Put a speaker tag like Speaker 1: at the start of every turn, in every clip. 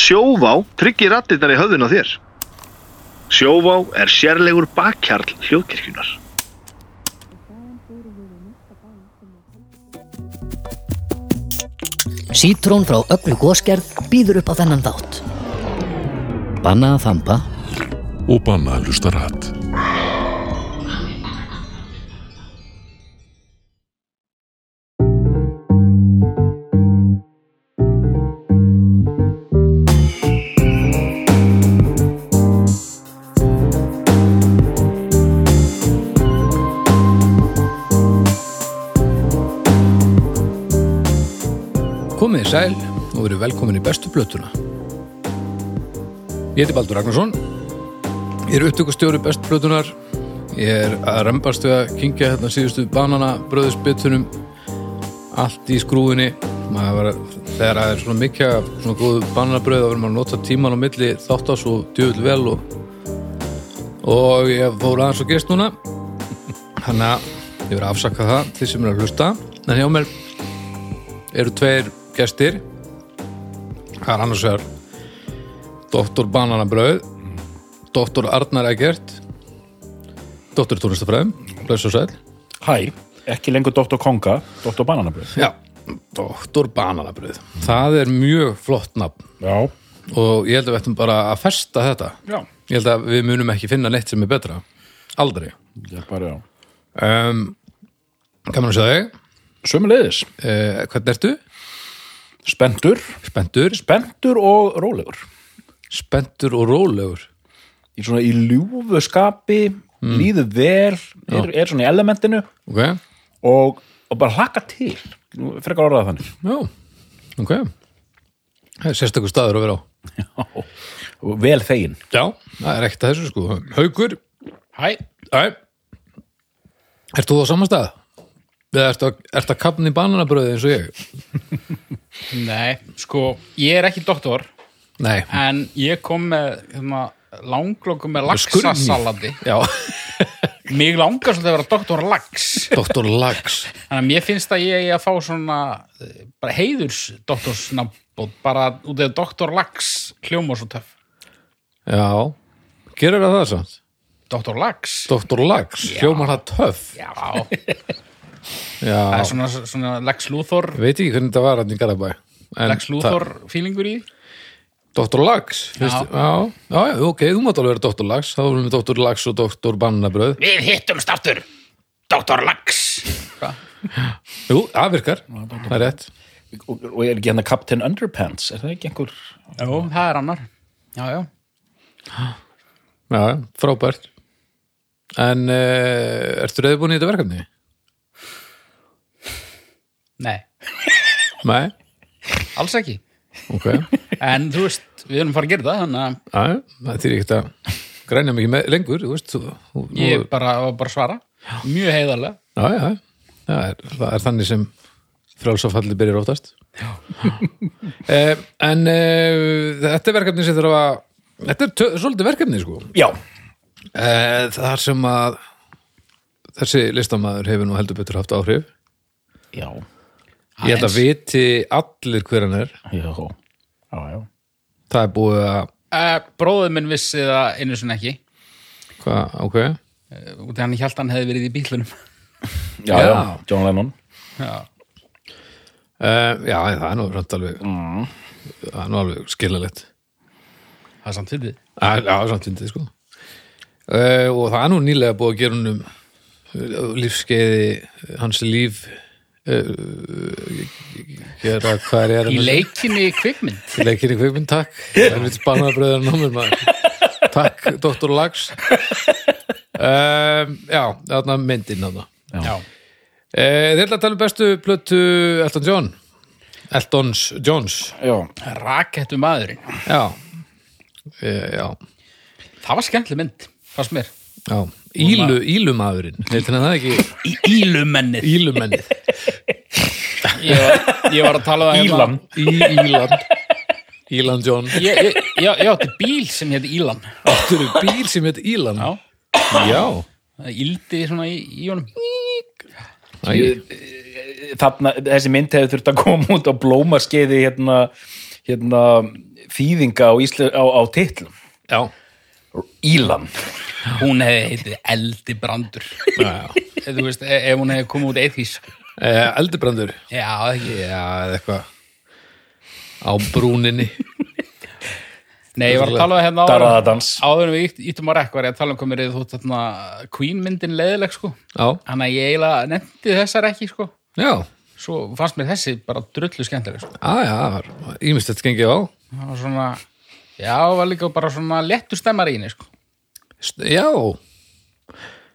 Speaker 1: Sjóvá tryggir rattirnar í höfðun á þér. Sjóvá er sérlegur bakkjarl hljóðkirkjunar.
Speaker 2: Sítrón frá öllu góskerð býður upp á þennan þátt. Banna að þampa
Speaker 3: og banna að hlusta rætt.
Speaker 4: Komið í sæl og verið velkomin í bestu blötuna. Ég heiti Baldur Ragnarsson, ég er upptökustjóri bestu blötunar, ég er að rembast við að kynkja hérna síðustu banana bröðisbytunum, allt í skrúfinni, maður var, þegar það er svona mikið af svona góðu bananabröð þá verður maður að nota tíman á milli þátt á svo djöfull vel og, og ég fór aðeins og gest núna, þannig að ég verið að afsaka það því sem er að hlusta, en hjá mér eru tveir gestir það er annars vegar Dr. Bananabröð Dr. Arnar Egert Dr. Tónlistafræðum Bless og sæl
Speaker 5: Hæ, ekki lengur Dr. Konga, Dr. Bananabröð.
Speaker 4: Já, Dr. Bananabröð það er mjög flott nafn
Speaker 5: Já.
Speaker 4: og ég held að við ættum bara að festa þetta
Speaker 5: Já.
Speaker 4: ég held að við munum ekki finna neitt sem er betra aldrei
Speaker 5: Já, bara já.
Speaker 4: um, Gaman að sjá þig
Speaker 5: Sömulegðis,
Speaker 4: uh, Hvernig ertu?
Speaker 5: spendur,
Speaker 4: Spendur,
Speaker 5: spendur og rólegur.
Speaker 4: spendur og rólegur
Speaker 5: Í svona í ljúfu skapi, líður vel, er, er svona í elementinu
Speaker 4: Ok,
Speaker 5: og, og bara hlaka til. Nú, Frekar orðað þannig.
Speaker 4: Já, ok. Það er sérstakur staður að vera á.
Speaker 5: Já. Og vel þegin.
Speaker 4: Já. Það er ekkert að þessu sko. Haukur. Hæ. Hæ. Ert þú á saman stað? Eða ertu að, ertu að kapna í bananabröði eins og ég?
Speaker 6: Nei, sko, ég er ekki doktor
Speaker 4: Nei.
Speaker 6: en ég kom með hérna, langlokum með laxasalati
Speaker 4: Já,
Speaker 6: mig langar svolítið að vera doktor lax
Speaker 4: doktor Lags.
Speaker 6: þannig að mér finnst að ég eigi að fá svona eh, bara heiðurs doktorsnafnbót bara út af doktor lax hljóma svo töff
Speaker 4: Já. Gerir það það samt?
Speaker 6: doktor lax
Speaker 4: Doktor Lags.
Speaker 6: Já.
Speaker 4: Hljómar það töff.
Speaker 6: Já, það
Speaker 4: Já.
Speaker 6: er svona, svona Lex Luthor
Speaker 4: Ég veit ekki hvernig þetta var hann í Garabæ. En
Speaker 6: Lex Luthor fílingur í því.
Speaker 4: Dr. Lags fyrst, já. Já, já, ok, þú mátt alveg vera Dr. Lags þá erum við Dr. Lags og Dr. Bannabröð
Speaker 6: Við hittum staftur Doktor Lax
Speaker 4: Jú, það virkar, það er rétt
Speaker 5: Og, og er ekki hérna Captain Underpants, er það ekki einhver...
Speaker 6: Jú, það er annar Já, já
Speaker 4: Já, já, frábært En uh, ertu reyðbúin í þetta verkefni?
Speaker 6: Nei,
Speaker 4: Nei,
Speaker 6: alls ekki
Speaker 4: ok Já,
Speaker 6: En þú veist, við erum fara að gera það þannig að
Speaker 4: já, það þýr ekkert að grænja mikið með, lengur, þú veist þú, þú,
Speaker 6: ég
Speaker 4: nú-
Speaker 6: bara, var bara að svara Mjög heiðarlega
Speaker 4: Já, já, já, það er, það er þannig sem frálsafalli byrjar óttast uh, En uh, þetta er verkefni sem þarf að Þetta er tö, svolítið verkefni, sko
Speaker 5: Já.
Speaker 4: Eh, Þar sem að þessi listamæður hefur nú heldur betur haft áhrif.
Speaker 5: Já.
Speaker 4: Ég held að viti allir hver hann er.
Speaker 5: Já. Já, já.
Speaker 4: Það er búið að,
Speaker 6: uh, Bróðið minn vissi það einu sinni ekki
Speaker 4: hvað, ok,
Speaker 6: eh, út af hann hjælt hann hefði verið í bílunum
Speaker 5: Já, já. John Lennon.
Speaker 6: Já,
Speaker 4: uh, já, það er nú rönt alveg,
Speaker 5: Mm.
Speaker 4: það er nú alveg skilalegt.
Speaker 6: það er samt fyrir
Speaker 4: Já, já, samt fyndið, sko. Uh, og það er nú nýlega búið að gera hann um lífskeiði, eh, hans líf, uh, gera hvað er
Speaker 6: Í
Speaker 4: hann?
Speaker 6: leikinni kvikmynd
Speaker 4: Leikinni kvikmynd, takk Það er vitt spannaðbröður námið maður Takk, Dr. Lags um, Já, þarna myndin þarna
Speaker 6: Já,
Speaker 4: uh, Þeir ætla að tala um bestu plötu Elton John Eltons Jones
Speaker 5: Já.
Speaker 6: rakettu maðurinn
Speaker 4: Já, uh, já,
Speaker 6: Það var skemmtileg mynd, fannst mér
Speaker 4: já Ílu, ílumaðurinn Nei, þannig að það ekki
Speaker 6: Í ílumennið
Speaker 4: ílumennið
Speaker 6: ég, var- ég var að tala um það hérna.
Speaker 5: Ílan.
Speaker 4: Í Íland Íland John
Speaker 6: ég, ég, ég, ég átti bíl sem hétt Ílan
Speaker 4: Þetta eru bíl sem heit Ílan
Speaker 6: Já.
Speaker 4: já.
Speaker 6: Það íldi svona í, í honum
Speaker 4: Æ,
Speaker 5: þarna, þessi mynd hefur þurft að koma út á blómaskeiði hérna hérna, þýðinga á, Ísle, á, á titlum
Speaker 4: Já,
Speaker 5: Ílan
Speaker 6: Hún hefði heitið Eldi Brandur Þú veist, e- ef hún hefði komið út eithís
Speaker 4: eh, eldibrandur
Speaker 6: Já, ekki
Speaker 4: Já, eða eitthvað á brúninni
Speaker 6: Nei, ég var að tala um hérna áður
Speaker 5: Darraðadans
Speaker 6: Áður en við ítt- íttum á rekk var ég að tala um komið reyð þótt þarna Queen myndin leiðileg sko
Speaker 4: Já,
Speaker 6: Þannig að ég eiginlega nefndi þessar ekki sko
Speaker 4: já,
Speaker 6: Svo fannst mér þessi bara drullu skemmtileg sko.
Speaker 4: á, já, það var ímestett gengið á
Speaker 6: Það var svona Já, var líka bara svona lettur stemmar í henni sko
Speaker 4: St Já,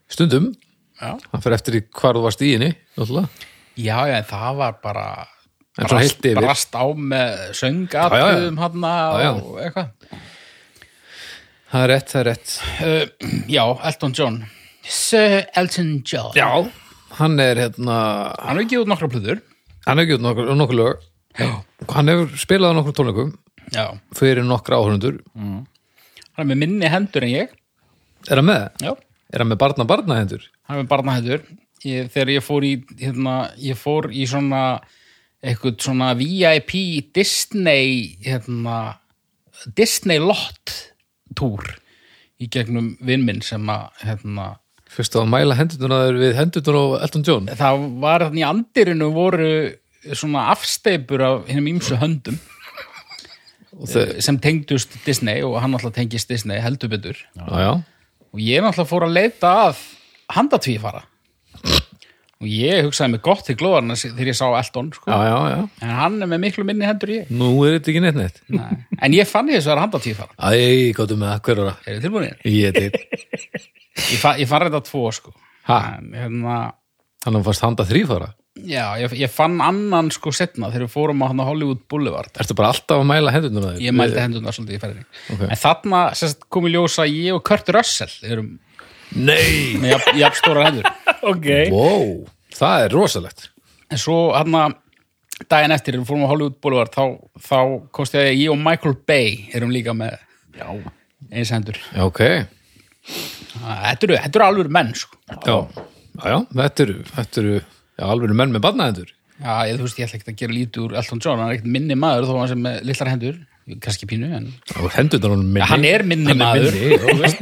Speaker 4: stundum
Speaker 6: Já,
Speaker 4: Það fer eftir í hvar þú varst í henni náttúrulega.
Speaker 6: já, já en það var bara
Speaker 4: En svona heilt yfir.
Speaker 6: brast á með söngatum hann
Speaker 4: Já, já.
Speaker 6: og eitthvað
Speaker 4: Það er rétt, það er rétt
Speaker 6: Uh, já, Elton John Sir Elton John
Speaker 4: Já, hann er hérna
Speaker 6: Hann hefur gefið út nokkra plöður
Speaker 4: hann hefur gjort nokkur, nokkur lög
Speaker 6: Já.
Speaker 4: hann hefur spilað á nokkur tónleikum
Speaker 6: Já, hann
Speaker 4: fyrir nokkra áhörundur
Speaker 6: er með minni hendur en ég
Speaker 4: Er hann með? það?
Speaker 6: Já,
Speaker 4: Er hann með barna barna hendur?
Speaker 6: hann er með barna hendur ég, Þegar ég fór í hérna, ég fór í svona eitthvað svona VIP Disney hérna, Disney lot túr í gegnum vinnminn sem að hérna,
Speaker 4: Fyrst á að mæla hendurnar þeir við hendurnar á Elton John
Speaker 6: það var þannig í andirinu voru svona afsteipur af hinnum ýmsu höndum eh,
Speaker 4: og þeir,
Speaker 6: sem tengdust Disney og hann alltaf tengist Disney heldur betur
Speaker 4: já, já,
Speaker 6: og ég náttúrulega fór að leita að handatvífara og ég hugsaði mig gott til glóðarna þegar ég sá Elton
Speaker 4: já,
Speaker 6: sko.
Speaker 4: já, já.
Speaker 6: en hann er með miklu minni hendur en ég
Speaker 4: Nú er þetta ekki neitt neitt
Speaker 6: en ég fann ég þessu að handatvífara
Speaker 4: Æ, gáttu með það, hver ára?
Speaker 6: er þið tilbúinir?
Speaker 4: Ég er til
Speaker 6: Ég, fa ég fann þetta tvo sko
Speaker 4: Ha?
Speaker 6: en, hérna,
Speaker 4: Hann fannst handa þrýfara
Speaker 6: já, ég, ég fann annan sko setna þegar við fórum á hann á Hollywood Boulevard
Speaker 4: Ertu bara alltaf að mæla hendurnar þeir?
Speaker 6: ég mældi hendurna svolítið í ferðinni
Speaker 4: Ok.
Speaker 6: en þarna sérst, kom í ljós að ég og Kurt Russell erum
Speaker 4: Nei!
Speaker 6: með jafn- jafn stóra hendur
Speaker 5: Ok
Speaker 4: Wow, það er rosalegt
Speaker 6: en svo hann daginn eftir þegar við fórum á Hollywood Boulevard þá, þá kosti að ég og Michael Bay erum líka með eins hendur Ah,
Speaker 4: Já, ok Já,
Speaker 6: þetta eru, þetta eru alveg menn sko.
Speaker 4: já, já þetta eru, þetta eru já, alveg menn með barna hendur
Speaker 6: já, ég, þú veist, ég ætla ekkert að gera lítið úr Elton John hann er ekkert minni maður þó hann sem með litlar hendur kannski pínu en
Speaker 4: og hendurnar honum minni
Speaker 6: Hann er minni
Speaker 4: hann er
Speaker 6: maður.
Speaker 4: minni, já, veist.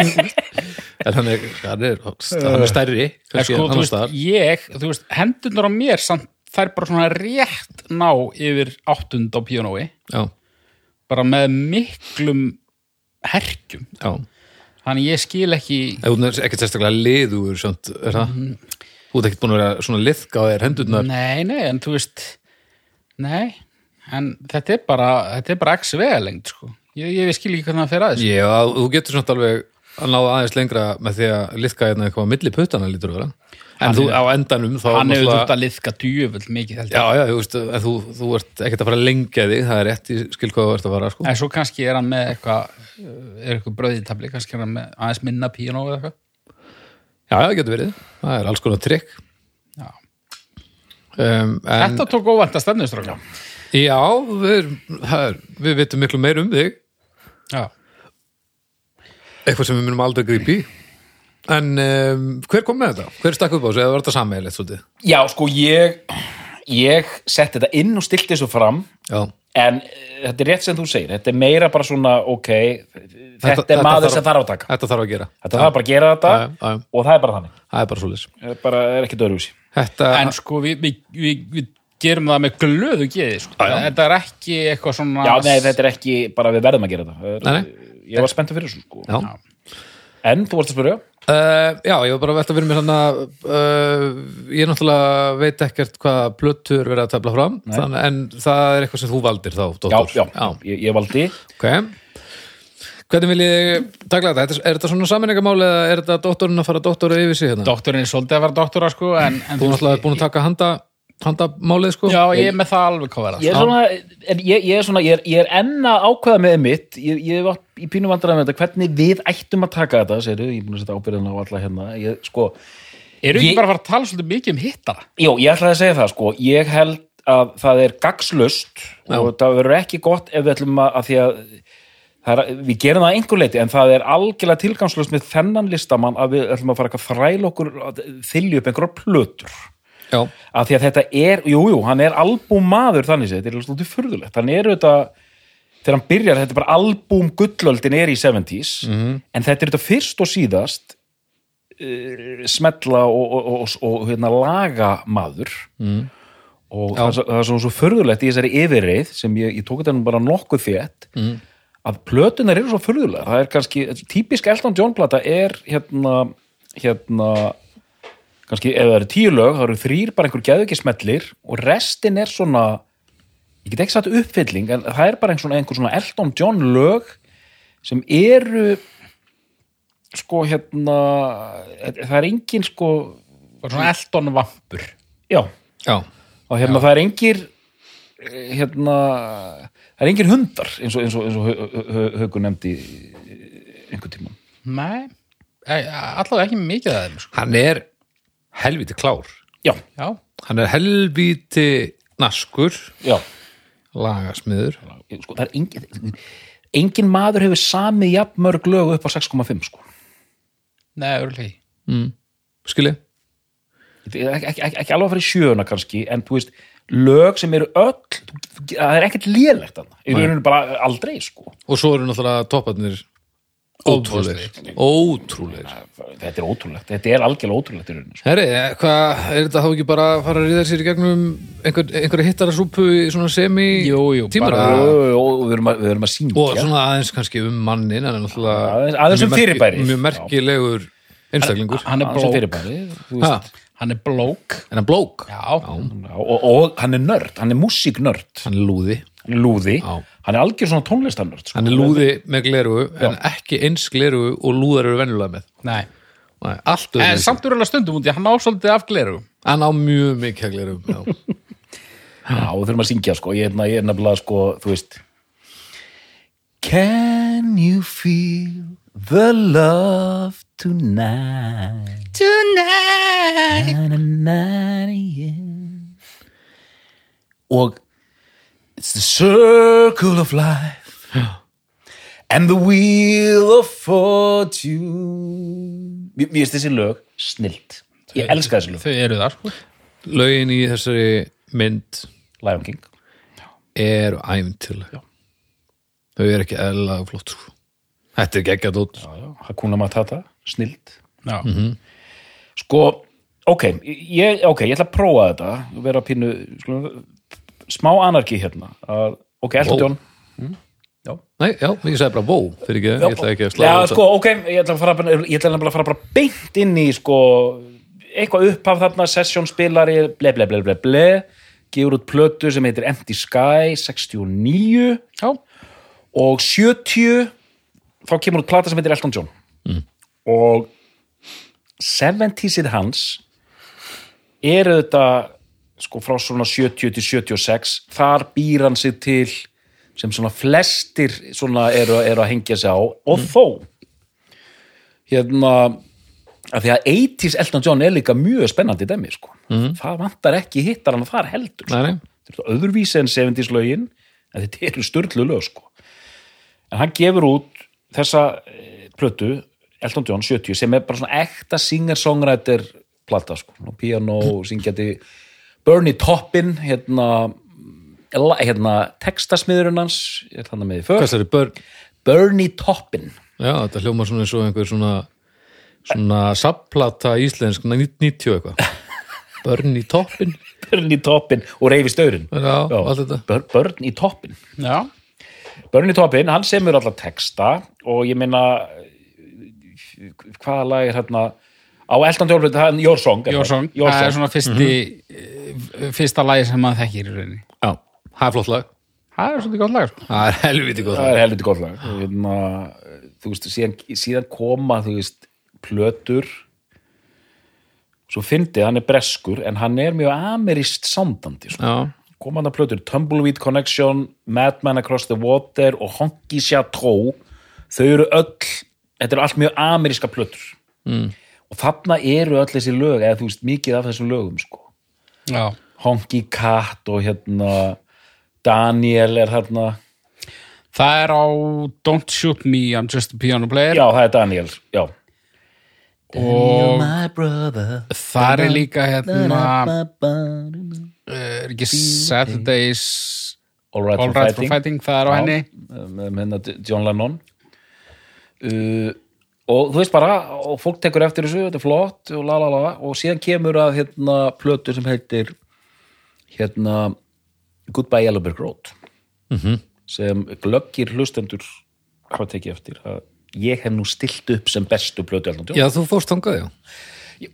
Speaker 4: en hann er, hann er, hann er stærri
Speaker 6: En sko,
Speaker 4: kannski en
Speaker 6: þú
Speaker 4: hann
Speaker 6: veist,
Speaker 4: staðar
Speaker 6: ég, þú veist, hendurnar á mér samt, þær bara svona rétt ná yfir áttund á píanói
Speaker 4: já,
Speaker 6: bara með miklum herkjum
Speaker 4: já,
Speaker 6: þannig ég skil ekki
Speaker 4: ef hún er ekkert sérstaklega liður samt, er það
Speaker 6: Mm.
Speaker 4: þú ert ekkert búin að vera svona liðka á þér hendurnar
Speaker 6: Nei, nei, en þú veist Nei, en þetta er bara þetta er bara x vegalengt, sko Ég, ég skil ekki hvernig það fer aðeins
Speaker 4: já, þú getur svona alveg að náða aðeins lengra með því að liðka hérna eitthvað á milli puttana lítur að vera en þú á endanum þá
Speaker 6: Hann hefur
Speaker 4: náttúrulega-
Speaker 6: þurft að liðka djöfull mikið held
Speaker 4: Já,
Speaker 6: ég.
Speaker 4: já, þú veist, en þú, þú ert ekkert að fara að lengja þig, það er rétt í skil hvað þú ert að fara, sko.
Speaker 6: En svo kannski er hann með eitthvað er eitthvað bröðitabli, kannski er hann með aðeins minna píanó eða eitthvað
Speaker 4: Já, já, getur verið. Það er alls konar trikk.
Speaker 6: Já.
Speaker 4: Um, en,
Speaker 6: Þetta tók óvænt að stefnustráka
Speaker 4: já, við, erum- það er, við vitum miklu meir um þig,
Speaker 6: Já,
Speaker 4: eitthvað sem við munum aldrei grípi. En um, hver kom með þetta? Hver stakk upp á þessu? Eða var þetta sammeðilegt svolítið?
Speaker 5: Já, sko, ég ég setti þetta inn og stilti þessu fram
Speaker 4: Já,
Speaker 5: en eh, þetta er rétt sem þú segir þetta er meira bara svona, ok þetta, er
Speaker 4: þetta
Speaker 5: maður
Speaker 4: þarf-
Speaker 5: sem þarf að taka
Speaker 4: þetta þarf að gera.
Speaker 5: þetta þarf bara að gera þetta
Speaker 4: Já, já, já.
Speaker 5: og það er bara þannig,
Speaker 4: Það er bara svolítið.
Speaker 5: það er bara er ekki dörfus
Speaker 4: Þetta,
Speaker 6: en sko við, við, við, við gerum það með glöðu geði sko. Þetta er ekki eitthvað svona
Speaker 5: Já, nei, þetta er ekki bara við verðum að gera þetta Það er-
Speaker 4: Nei, nei.
Speaker 5: Ég var spenntur fyrir þessu sko.
Speaker 4: já.
Speaker 5: En þú varst að spyrja
Speaker 4: Uh, já, ég var bara að velta fyrir mér hann að uh, ég náttúrulega veit ekkert hvað plötur verið að tefla fram þann, en það er eitthvað sem þú valdir þá,
Speaker 5: Já,
Speaker 4: Dóttur
Speaker 5: já, Ég, ég valdi
Speaker 4: ok Hvernig vil ég takla þetta? Þetta- Er þetta svona sammenningamál eða er þetta dótturinn að fara dóttura yfir sig hérna?
Speaker 6: Doktorinn er svolítið að vera doktora sko en, en
Speaker 4: Þú náttúrulega er búin að taka handa, handamálið sko
Speaker 6: Já, ég er með það alveg hvað vera
Speaker 5: Ég er svona, en ég, ég er svona ég er, ég er enn að ákveða með mitt Ég, ég var í pínu vandræðum með þetta Hvernig við ættum að taka þetta, segirðu Ég er búin að setja ábyrðan á alla hérna ég, sko,
Speaker 6: Eru ekki
Speaker 5: Ég-
Speaker 6: bara að fara að tala svolítið mikið um hittara?
Speaker 5: Jó, ég ætlaði að segja það sko. Ég held að það er gagslust og það verður ekki gott ef við ætlum að, að því að það er, við gerum það að einhver leiti en það er algjörlega tilgangslust með þennan listamann að við ætlum að fara eitthvað að þræla okkur að þylja upp einhverjar plötur
Speaker 4: já,
Speaker 5: af því að þetta er, jújú, jú, hann er albúmaður þannig séð, þetta er svolítið furðulegt hann er auðvitað þegar hann byrjar, þetta er bara albúm gullöldin er í 70s en þetta er þetta fyrst og síðast uh, smetla og, og, og, og hérna, laga maður og það, er svo- það er svo, svo förðulegt í þessari yfirreið sem ég, ég tók þetta nú bara nokkuð þétt mm. að plötunar eru svo förðulega það er kannski, típisk Elton John plata er hérna, hérna kannski ef það eru tíu lög, það eru þrýr bara einhver geðveikismellir og restin er svona ég get ekki sagt uppfylling en það er bara einhver svona, einhver svona Elton John lög sem eru sko hérna það er engin sko
Speaker 6: bara svona eldon vampur
Speaker 5: já,
Speaker 4: Já,
Speaker 5: og hérna það er engir eh, hérna það er engir hundar eins og, eins og, eins og Hauku nefndi eh, einhvern tímann
Speaker 6: nei, allavega ekki mikið að þeim sko.
Speaker 4: hann er helviti klár
Speaker 5: já,
Speaker 6: já,
Speaker 4: hann er helviti naskur
Speaker 5: já
Speaker 4: lagasmiður
Speaker 5: sko, það er engin engin maður hefur samið jafn mörg lög upp á 6,5 sko
Speaker 6: nei, örlegi
Speaker 4: skilji,
Speaker 5: ekki, ekki, ekki, ekki alveg að fara í sjöuna kannski en þú veist, lög sem eru öll þú- þú- það er ekkert lélegt þarna. í rauninu bara aldrei sko
Speaker 4: og svo eru náttúrulega topparnir ótrúleir ótrúleir
Speaker 5: þetta er ótrúlegt, þetta er algjörlega ótrúlegt í rauninu sko.
Speaker 4: Herri, eh, hvað, er þetta þá ekki bara að fara að ríða sér í gegnum einhver, einhverja hittarasúpu í svona semi Ah.
Speaker 6: Jú, jú,
Speaker 4: tímara
Speaker 6: bara-
Speaker 5: og, og, og við erum að, við erum að syngja
Speaker 4: og svona aðeins kannski um mannin hann er náttúrulega
Speaker 5: Aðeins- aðeins um
Speaker 4: mjög merki-
Speaker 5: fyrirbærið.
Speaker 4: mjög merkilegur einstaklingur
Speaker 6: hann er
Speaker 5: Aðeins um
Speaker 6: blók
Speaker 5: fyrirbæri, þú
Speaker 4: Ha,
Speaker 5: veist.
Speaker 6: hann er blók
Speaker 4: en hann blók
Speaker 6: já,
Speaker 5: Já, og, og hann er nörd, hann er músíknörd
Speaker 4: hann er lúði
Speaker 5: hann er lúði,
Speaker 4: Já.
Speaker 5: hann er algjör svona tónlistanörd sko.
Speaker 4: hann er lúði með gleru en ekki eins gleru og lúðar eru venjulega með
Speaker 6: nei
Speaker 4: Nei, allt
Speaker 6: en
Speaker 4: öðruvísi.
Speaker 6: samt úr alveg stundum út í, hann á svolítið af gleru
Speaker 4: hann á mjög mikið að gleru
Speaker 5: Já, við þurfum að syngja sko, ég er, na- ég er nefnilega sko, þú veist Can you feel the love tonight Tonight na, na, na, yeah. Og It's the circle of life And the wheel of fortune Mér mér finnst þessi lög snilt Ég elska þessi lög
Speaker 6: þau eru þar sko.
Speaker 4: lögin í þessari mynd
Speaker 5: Lion King
Speaker 4: eru æfintilega þau eru ekki eðlilega flott sko. þetta er geggjað út
Speaker 5: Hakuna Matata, snilt
Speaker 6: já,
Speaker 5: Sko, ok, ég, ok, ég ætla að prófa þetta, vera pínu, skulum, smá anarki hérna. að, ok, Elton
Speaker 4: Vó.
Speaker 5: John.
Speaker 4: nei, já, ég sagði bara vó fyrir ekki, ég ætla ekki að slá
Speaker 5: Já,
Speaker 4: út að-
Speaker 5: sko, ok, ég ætla að fara, bara- ég ætla nefnilega að fara bara beint inn í, sko, eitthvað upphaf þarna, sessjónspilari, ble, ble, ble, ble, ble, gefur út plötu sem heitir Empty Sky 69
Speaker 6: já,
Speaker 5: og 70 þá kemur út plata sem heitir Elton John
Speaker 4: Mm.
Speaker 5: og 70-sið hans eru þetta sko frá svona 70 til 76 þar býr hann sig til sem svona flestir svona eru, eru að hengja sig á
Speaker 4: Mm.
Speaker 5: og þó hérna að því að 80s Elton John er líka mjög spennandi dæmi sko það vantar ekki hittar hann þar heldur sko
Speaker 4: Mhm. nei, nei.
Speaker 5: þetta er öðruvísi en 70s lögin en þetta eru störlu lög sko en hann gefur út þessa eh, plötu Elton John 70 sem er bara svona ekta singer-songwriter plata sko, Nú, piano, syngjandi Bernie Toppin hérna, la- hérna textasmiðurinn hans ég er þannig með því
Speaker 4: hvað
Speaker 5: fyrr
Speaker 4: sagði börn
Speaker 5: Bernie Toppin
Speaker 4: já, þetta hljómar svona eins og einhver svona svona sapplata íslensk 90 eitthvað börn í toppin
Speaker 5: Bernie Toppin og Reyfi Staurin
Speaker 4: já, allt þetta
Speaker 5: Bernie Toppin
Speaker 6: já.
Speaker 5: Bernie Toppin, hann semur alla texta og ég meina eh, hvaða lag er hérna á Elton John, það er Your Song er það?
Speaker 6: Your Song,
Speaker 5: Your
Speaker 6: það er
Speaker 5: Song.
Speaker 6: svona fyrsti, eh, fyrsta lagi sem maður þekkir í rauninni
Speaker 4: já, það er flott lag
Speaker 6: það er svolítið gott lag sko.
Speaker 4: það er helviti góð
Speaker 5: það
Speaker 4: lag
Speaker 5: er helviti gott lag hérna, þú veist, síðan, síðan koma þú veist, plötur svo fyndið, hann er breskur en hann er mjög amerist sándandi sko.
Speaker 4: já,
Speaker 5: koma hann að plötur Tumbleweed Connection, Madman Across the Water og Honky Chateau þau eru öll þetta eru allt mjög ameríska plötur mm. og þarna eru öll þessi lög eða þú veist mikið af þessum lögum sko.
Speaker 6: já,
Speaker 5: Honky Cat og hérna Daniel er hérna
Speaker 6: það er á Don't Shoot Me, I'm Just a Piano Player
Speaker 5: já það er Daniel já.
Speaker 6: og það er líka hérna er ekki Saturdays
Speaker 5: All Right,
Speaker 6: All
Speaker 5: for,
Speaker 6: Right for Fighting,
Speaker 5: fighting.
Speaker 6: það er á
Speaker 5: Já,
Speaker 6: henni
Speaker 5: með með hérna John Lennon uh, og þú veist bara og fólk tekur eftir þessu, þetta er flott og la la la og síðan kemur að hérna plötu sem heitir hérna Goodbye Yellowbird Road sem glöggir hlustendur hafa tekið eftir að ég hef nú stilt upp sem bestu plötu Elton John.
Speaker 4: Já, þú fórst þangað, já.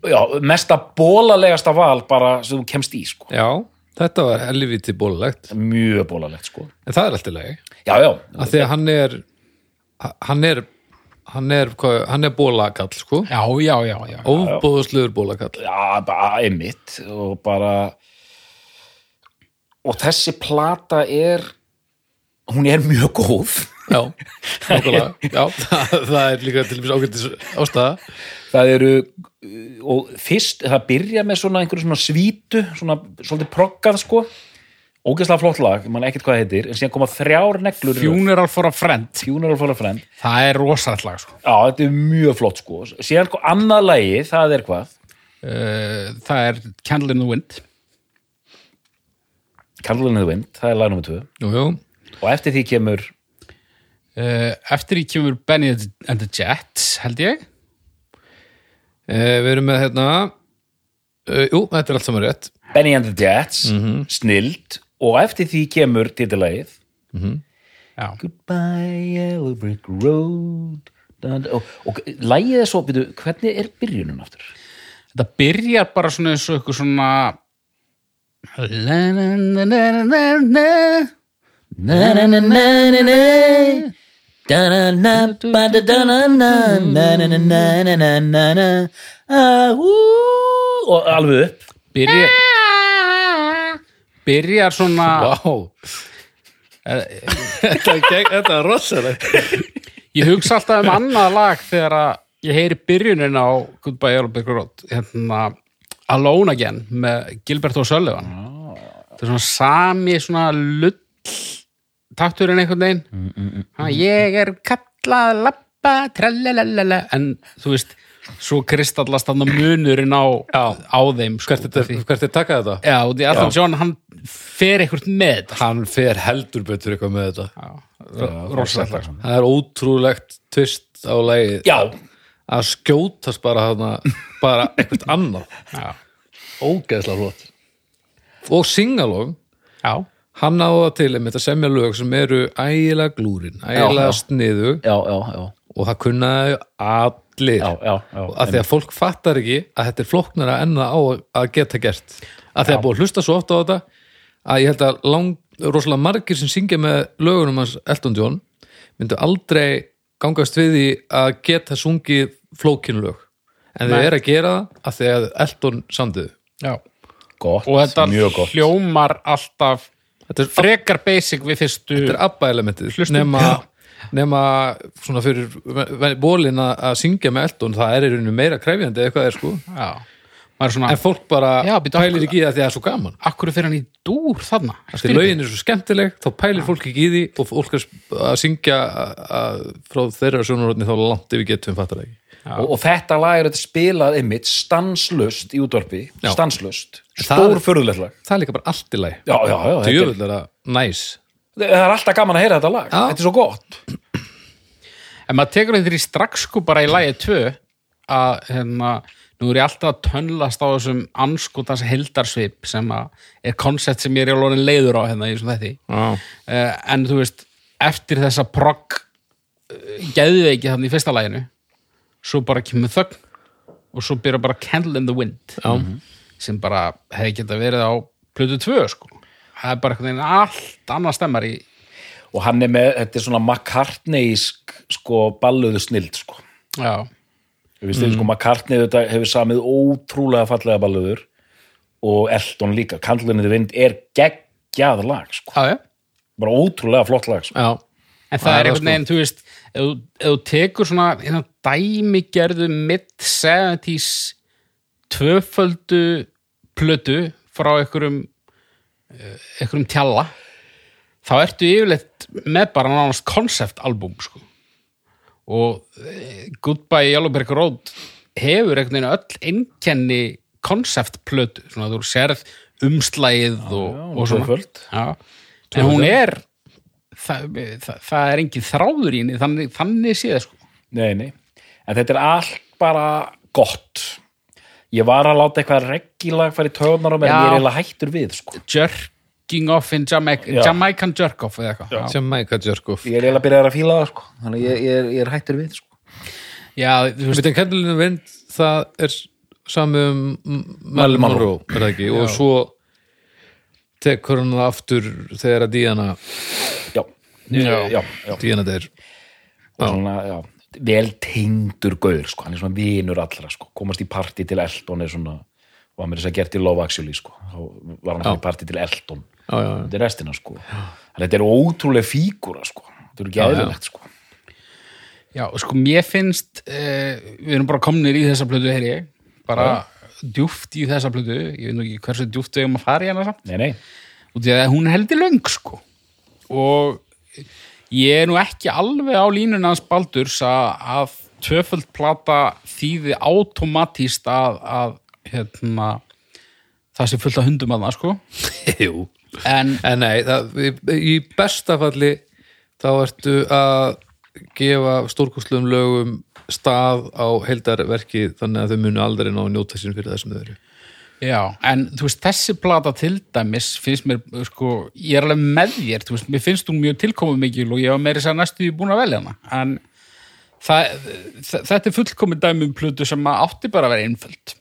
Speaker 5: Já, mesta bólalegasta val bara sem þú kemst í sko
Speaker 4: Já, þetta var helviti bólalegt.
Speaker 5: mjög bólalegt sko
Speaker 4: En það er alltaf lagi.
Speaker 5: já, já,
Speaker 4: Af því að hann er, hann er, hann er, hvað, hann er bólakall, sko.
Speaker 6: Já, já, já, já
Speaker 4: Óbóðsluður bólakall.
Speaker 5: já, bara einmitt og bara og þessi plata er hún er mjög góð
Speaker 4: Já, nákvæmlega. Já, það, það er líka til dæmis ágættis ástæða.
Speaker 5: það eru uh, og fyrst, það byrja með svona einhverju svona svítu, svona svolítið proggað sko, ógeðslega flott lag mann ekkert hvað það heitir, en síðan koma þrjár neglur í röð.
Speaker 6: Funeral for a Friend
Speaker 5: Funeral for a Friend
Speaker 6: Það er rosalega sko.
Speaker 5: já, þetta er mjög flott sko síðan sko, annað lagi, það er hvað
Speaker 6: uh, Það er Candle in the Wind
Speaker 5: Karlunni the Wind, það er lag nummer 2
Speaker 4: Jú, jú.
Speaker 5: og eftir því kemur
Speaker 6: uh, Eftir ég kemur Benny and the Jets held ég
Speaker 4: E, við erum með hérna, e, jú, þetta er allt saman rétt.
Speaker 5: Benny and the Jets, mm Snild og eftir því kemur titillagið
Speaker 6: Já.
Speaker 5: Goodbye Yellow Brick Road dun, og, og lagið er svo, byrju, hvernig er byrjunum aftur?
Speaker 6: Þetta byrjar bara svona eins og eitthvað svona La-na-na-na-na-na
Speaker 5: Na na na na na na Da na na ba da da na na Na na na na na na na na Ah, ú, og alveg upp
Speaker 6: Byrjar Byrjar svona
Speaker 4: Vá. þetta, er gegn, þetta er rosalegt.
Speaker 6: Ég hugsa alltaf um annað lag þegar að ég heyri byrjunin á Goodbye Yellow Brick Road hérna Alone Again með Gilbert og Sullivan þetta er svona sami svona lull takturinn einhvern veginn mm, ég er kallað lappa tralalala en þú veist, svo kristallast hann munurinn á, á þeim sko,
Speaker 4: Hvert er, hvert er takað þetta?
Speaker 6: Já, og því að John hann fer eitthvað með þetta sko.
Speaker 4: Hann fer heldur betur eitthvað með þetta.
Speaker 6: rosalega
Speaker 4: Það er ótrúlegt tvist á lagið
Speaker 5: Já,
Speaker 4: að skjótast bara þarna, bara eitthvað annað.
Speaker 6: Já.
Speaker 4: Ógeðslega flott. Og singalong,
Speaker 6: Já,
Speaker 4: hann á það til einmitt að semja lög sem eru ægilega glúrin, ægilega
Speaker 5: Já, já.
Speaker 4: sniðu
Speaker 5: já, já, já,
Speaker 4: og það kunnaði allir.
Speaker 5: já, já, já.
Speaker 4: Og að því að fólk fattar ekki að þetta er flóknara enn það á að geta gert. Að því að búið að hlusta svo oft á þetta að ég held að lang, rosalega margir sem syngja með lögunum hans Elton John myndu aldrei gangast við því að geta sungið flókin lög. En þau eru að gera það að því að Elton samduðu.
Speaker 6: já
Speaker 5: gott,
Speaker 6: og þetta
Speaker 5: mjög gott
Speaker 6: hljómar alltaf
Speaker 4: Þetta er
Speaker 6: frekar basic við fyrstu
Speaker 4: þetta er abba elementið nema, nema svona fyrir bólin að að syngja með Elton það er í rauninu meira krefjandi eða eitthvað er sko
Speaker 6: já, maður er svona,
Speaker 4: en fólk bara
Speaker 6: Já, býtu,
Speaker 4: pælir ekki í það því að það er svo gaman
Speaker 6: akkur fyrir hann í dúr þarna
Speaker 4: þegar lögin er svo skemmtileg þá pælir fólk ekki í því og fólk er að syngja að, að, frá þeirra sjónurotni þá langt yfir getum fattar það ekki
Speaker 5: og, og þetta lag er þetta spilað einmitt stanslust í útvarpi,
Speaker 4: Já.
Speaker 5: stanslust
Speaker 4: Það er-
Speaker 5: stór förðulegt lag
Speaker 4: það er líka bara allt í lagi
Speaker 5: já, já, já, þetta er,
Speaker 4: djöfull er það næs
Speaker 5: það er alltaf gaman að heyra þetta lag
Speaker 4: Já.
Speaker 5: þetta er svo gott
Speaker 6: en maður tekur þetta í strax sko bara í lagi 2 að hérna nú er ég alltaf að tönnlast á þessum anskotans heldarsvip sem að er koncept sem ég er í alveg leiður á hérna í þessum þetta Eh, en þú veist, eftir þessa progg geðu ekki þannig í fyrsta laginu svo bara kemur þögn og svo byrja bara Candle in the Wind Já. sem bara hefði geta verið á plötu 2 sko það er bara einhvern veginn allt annað stemmar í
Speaker 5: og hann er með, þetta er svona McCartneysk sko balluðu snild sko
Speaker 6: já,
Speaker 5: við veist
Speaker 4: Mhm.
Speaker 5: mm. sko McCartney þetta hefur samið ótrúlega fallega balluður og Elton líka, Kandlinni vind er geggjað lag sko
Speaker 6: já, já.
Speaker 5: bara ótrúlega flott lag sko.
Speaker 4: já,
Speaker 6: en það,
Speaker 4: Það sko. er
Speaker 6: er einhvern
Speaker 4: það,
Speaker 6: veginn, þú veist ef þú- ef þú tekur svona hérna, dæmigerðu mid-70s tvöföldu plötu frá einhverjum eh, einhverjum tjalla þá ertu yfirleitt með bara nánast konceptalbum sko. og eh, Goodbye Yellowberg Road hefur einhvern veginn öll einkenni konceptplötu, svona þú sérð umslægið og, og svona
Speaker 5: tvöföld.
Speaker 6: já, en hún er það, það, það er engin þráður í henni þannig, þannig séð sko
Speaker 5: Nei, nei. En þetta er allt bara gott. Ég var að láta eitthvað reggilag fara í tögunar á mér,
Speaker 6: Já.
Speaker 5: en ég er eiginlega hættur við, sko.
Speaker 6: jerking off in Jamaica,
Speaker 5: Já.
Speaker 6: Jamaican jerk off eða eitthvað já.
Speaker 4: sem Mæka Jörgóf
Speaker 5: Ég er eiginlega byrjaður að fíla það, sko. Þannig að ég, ég, er, ég er hættur við, sko.
Speaker 6: já, þú veist,
Speaker 4: Við þeim kæmdalinu vind það er samum
Speaker 5: Marilyn
Speaker 4: Marilyn
Speaker 5: Monroe.
Speaker 4: Monroe er það ekki, og svo tekur hann það aftur þegar að Diana
Speaker 5: Já. Já, já. já.
Speaker 4: Diana þeir
Speaker 5: Og Svona, já. Vel tengdur gaur, sko. Hann er svona vinur allra, sko. Komast í parti til Elton er svona, var mér þess að gert í Love Actually, sko. Þá var hann í parti til Elton.
Speaker 4: já, já, já.
Speaker 5: Þetta er restina, sko. Þannig að þetta er ótrúlega fígúra, sko. Þetta er ekki aðeinlegt, sko.
Speaker 6: já, sko mér finnst uh, við erum bara komnir í þessa plötu heyri ég, bara djúft í þessa plötu, ég veit nú ekki hversu djúft við erum að fara í hana samt
Speaker 5: Nei, nei.
Speaker 6: út í að hún er heldur löng sko og ég er nú ekki alveg á línuna hans Baldurs að, að tvöföld plata þýði automatíst að, að hérna, það sé fullt af hundum að það sko
Speaker 4: Jú.
Speaker 6: en
Speaker 4: en nei, það, í- í besta falli þá ertu að gefa stórkostlum lögum stað á heildarverki þannig að þau munu aldrei ná að njóta sín fyrir það sem þau eru
Speaker 6: Já, en þú veist, þessi plata til dæmis finnst mér, sko, ég er alveg með þér, þú veist, mér finnst hún mjög tilkomið mikil og ég var meiri sér næstu því búin að velja hana, en það, þ- þetta er fullkomið dæmi um plötu sem að átti bara að vera einföld.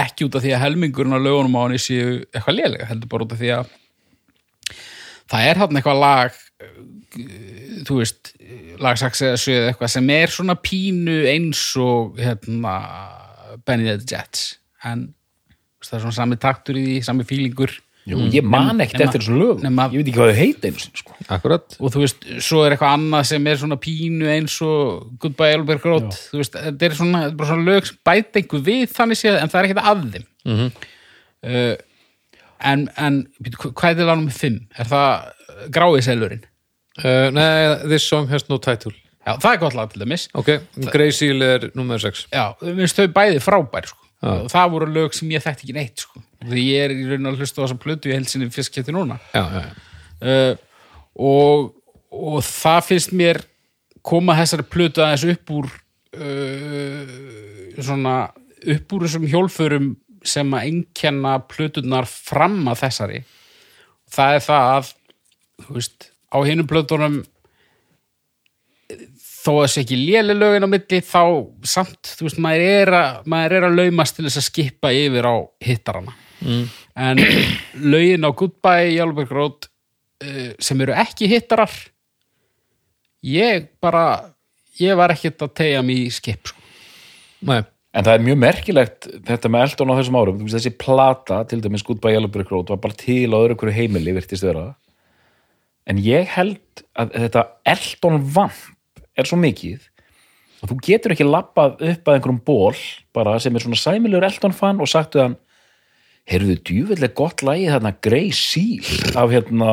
Speaker 6: Ekki út af því að helmingurinn á lögunum á henni séu eitthvað lélega, heldur bara út af því að það er hann eitthvað lag, eh, þú veist, lagsaks eða sögðu eitthvað sem er svona pínu eins og, hérna, Benny the Jets, en Þú veist, það er svona sami taktur í því, sami fílingur
Speaker 5: Jú, ég man ekkert
Speaker 6: nema-
Speaker 5: eftir þessu lögum.
Speaker 6: nema-
Speaker 5: Ég veit ekki hvað þau heita einu sinni, sko.
Speaker 4: Akkurat,
Speaker 6: og þú veist, svo er eitthvað annað sem er svona pínu eins og Goodbye Elbert Grót þú veist, þetta er svona, þetta er bara svona lög sem bæta einhver við þannig séð, en það er ekkert að þeim mm en, en býtu, hva- hvað er það lánum fimm? Er það uh, gráið selurinn?
Speaker 4: uh, nei, this song has no title
Speaker 6: Já, það er gott lag til dæmis
Speaker 4: ok, Grey Seal er nummer 6
Speaker 6: Já, minnst þau bæði frábær sko. og það voru lög sem ég þekkti ekki neitt sko. því ég er í raun að hlusta á þessa plötu ég held sinni fyrst kætti núna
Speaker 4: já, já, já.
Speaker 6: uh, og, og það finnst mér koma þessari plötu aðeins upp úr uh, svona upp úr þessum hjólförum sem að einkenna plötunar fram að þessari það er það að þú veist, á hinum plötunum þó að sé ekki léli lögin á milli þá samt, þú veist, maður er að, maður er að laumast til þess að skipa yfir á hittarana mm. en lögin á Goodbye Jálfberg Rót eh, sem eru ekki hittarar ég bara ég var ekkert að tegja mig í skip sko.
Speaker 4: Nei,
Speaker 5: En það er mjög merkilegt þetta með Elton á þessum árum, Þú veist, þessi plata til dæmis Goodbye Yellowbrick Road var bara til á öðru hverju heimili, virtist vera en ég held að þetta Elton vamp er svo mikið að þú getur ekki lappað upp að einhverjum ból bara sem er svona sæmilegur Elton fan og sagtu hann heyrðu djúvillig gott lagið þarna Grey Seal af hérna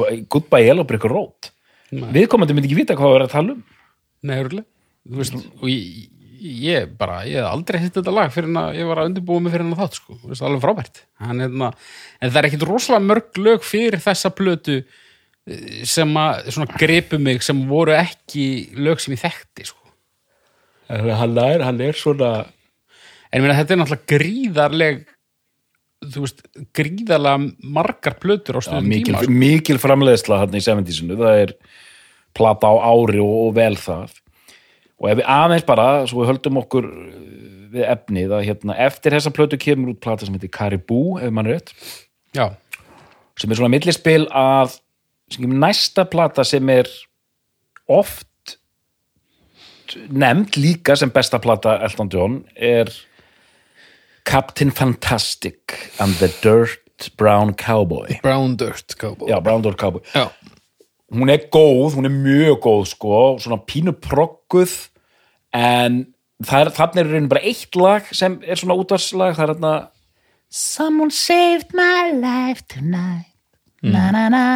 Speaker 5: af Goodbye Yellowbrick Road viðkomandi myndi ekki vita hvað það er að tala um
Speaker 6: neðurlega veist, og ég, ég bara, ég hef aldrei hitt þetta lag fyrir en að ég var að undirbúa mig fyrir en að þátt sko. Þú veist, alveg frábært Hann, hérna, en það er ekkert rosalega mörg lög fyrir þessa plötu eh, sem að svona gripu mig sem voru ekki lög sem ég þekkti sko.
Speaker 5: Eh, hann er, hann er svona
Speaker 6: En ég meina, þetta er náttúrulega gríðarleg þú veist, gríðarlega margar plötur á
Speaker 5: Já,
Speaker 6: stöðum
Speaker 5: mikil,
Speaker 6: tíma. sko.
Speaker 5: mikil framleiðsla hann í 70-sinu, það er plata á ári og, og vel það og ef við aðeins bara svo við höldum okkur eh, við efnið að hérna, eftir þessa plötu kemur út plata sem heitir Caribou, ef mann rétt
Speaker 6: Já,
Speaker 5: sem er svona millispil að sem kemur næsta plata sem er oft nefnd líka sem besta plata Elton John er Captain Fantastic and the Dirt Brown Cowboy
Speaker 4: Brown Dirt Cowboy
Speaker 5: Já, Brown Door Cowboy
Speaker 4: Já.
Speaker 5: hún er góð, hún er mjög góð sko, svona pínu progguð en það er, þannig er í rauninni bara eitt lag sem er svona útvarslag, það er hérna Someone saved my life tonight na na na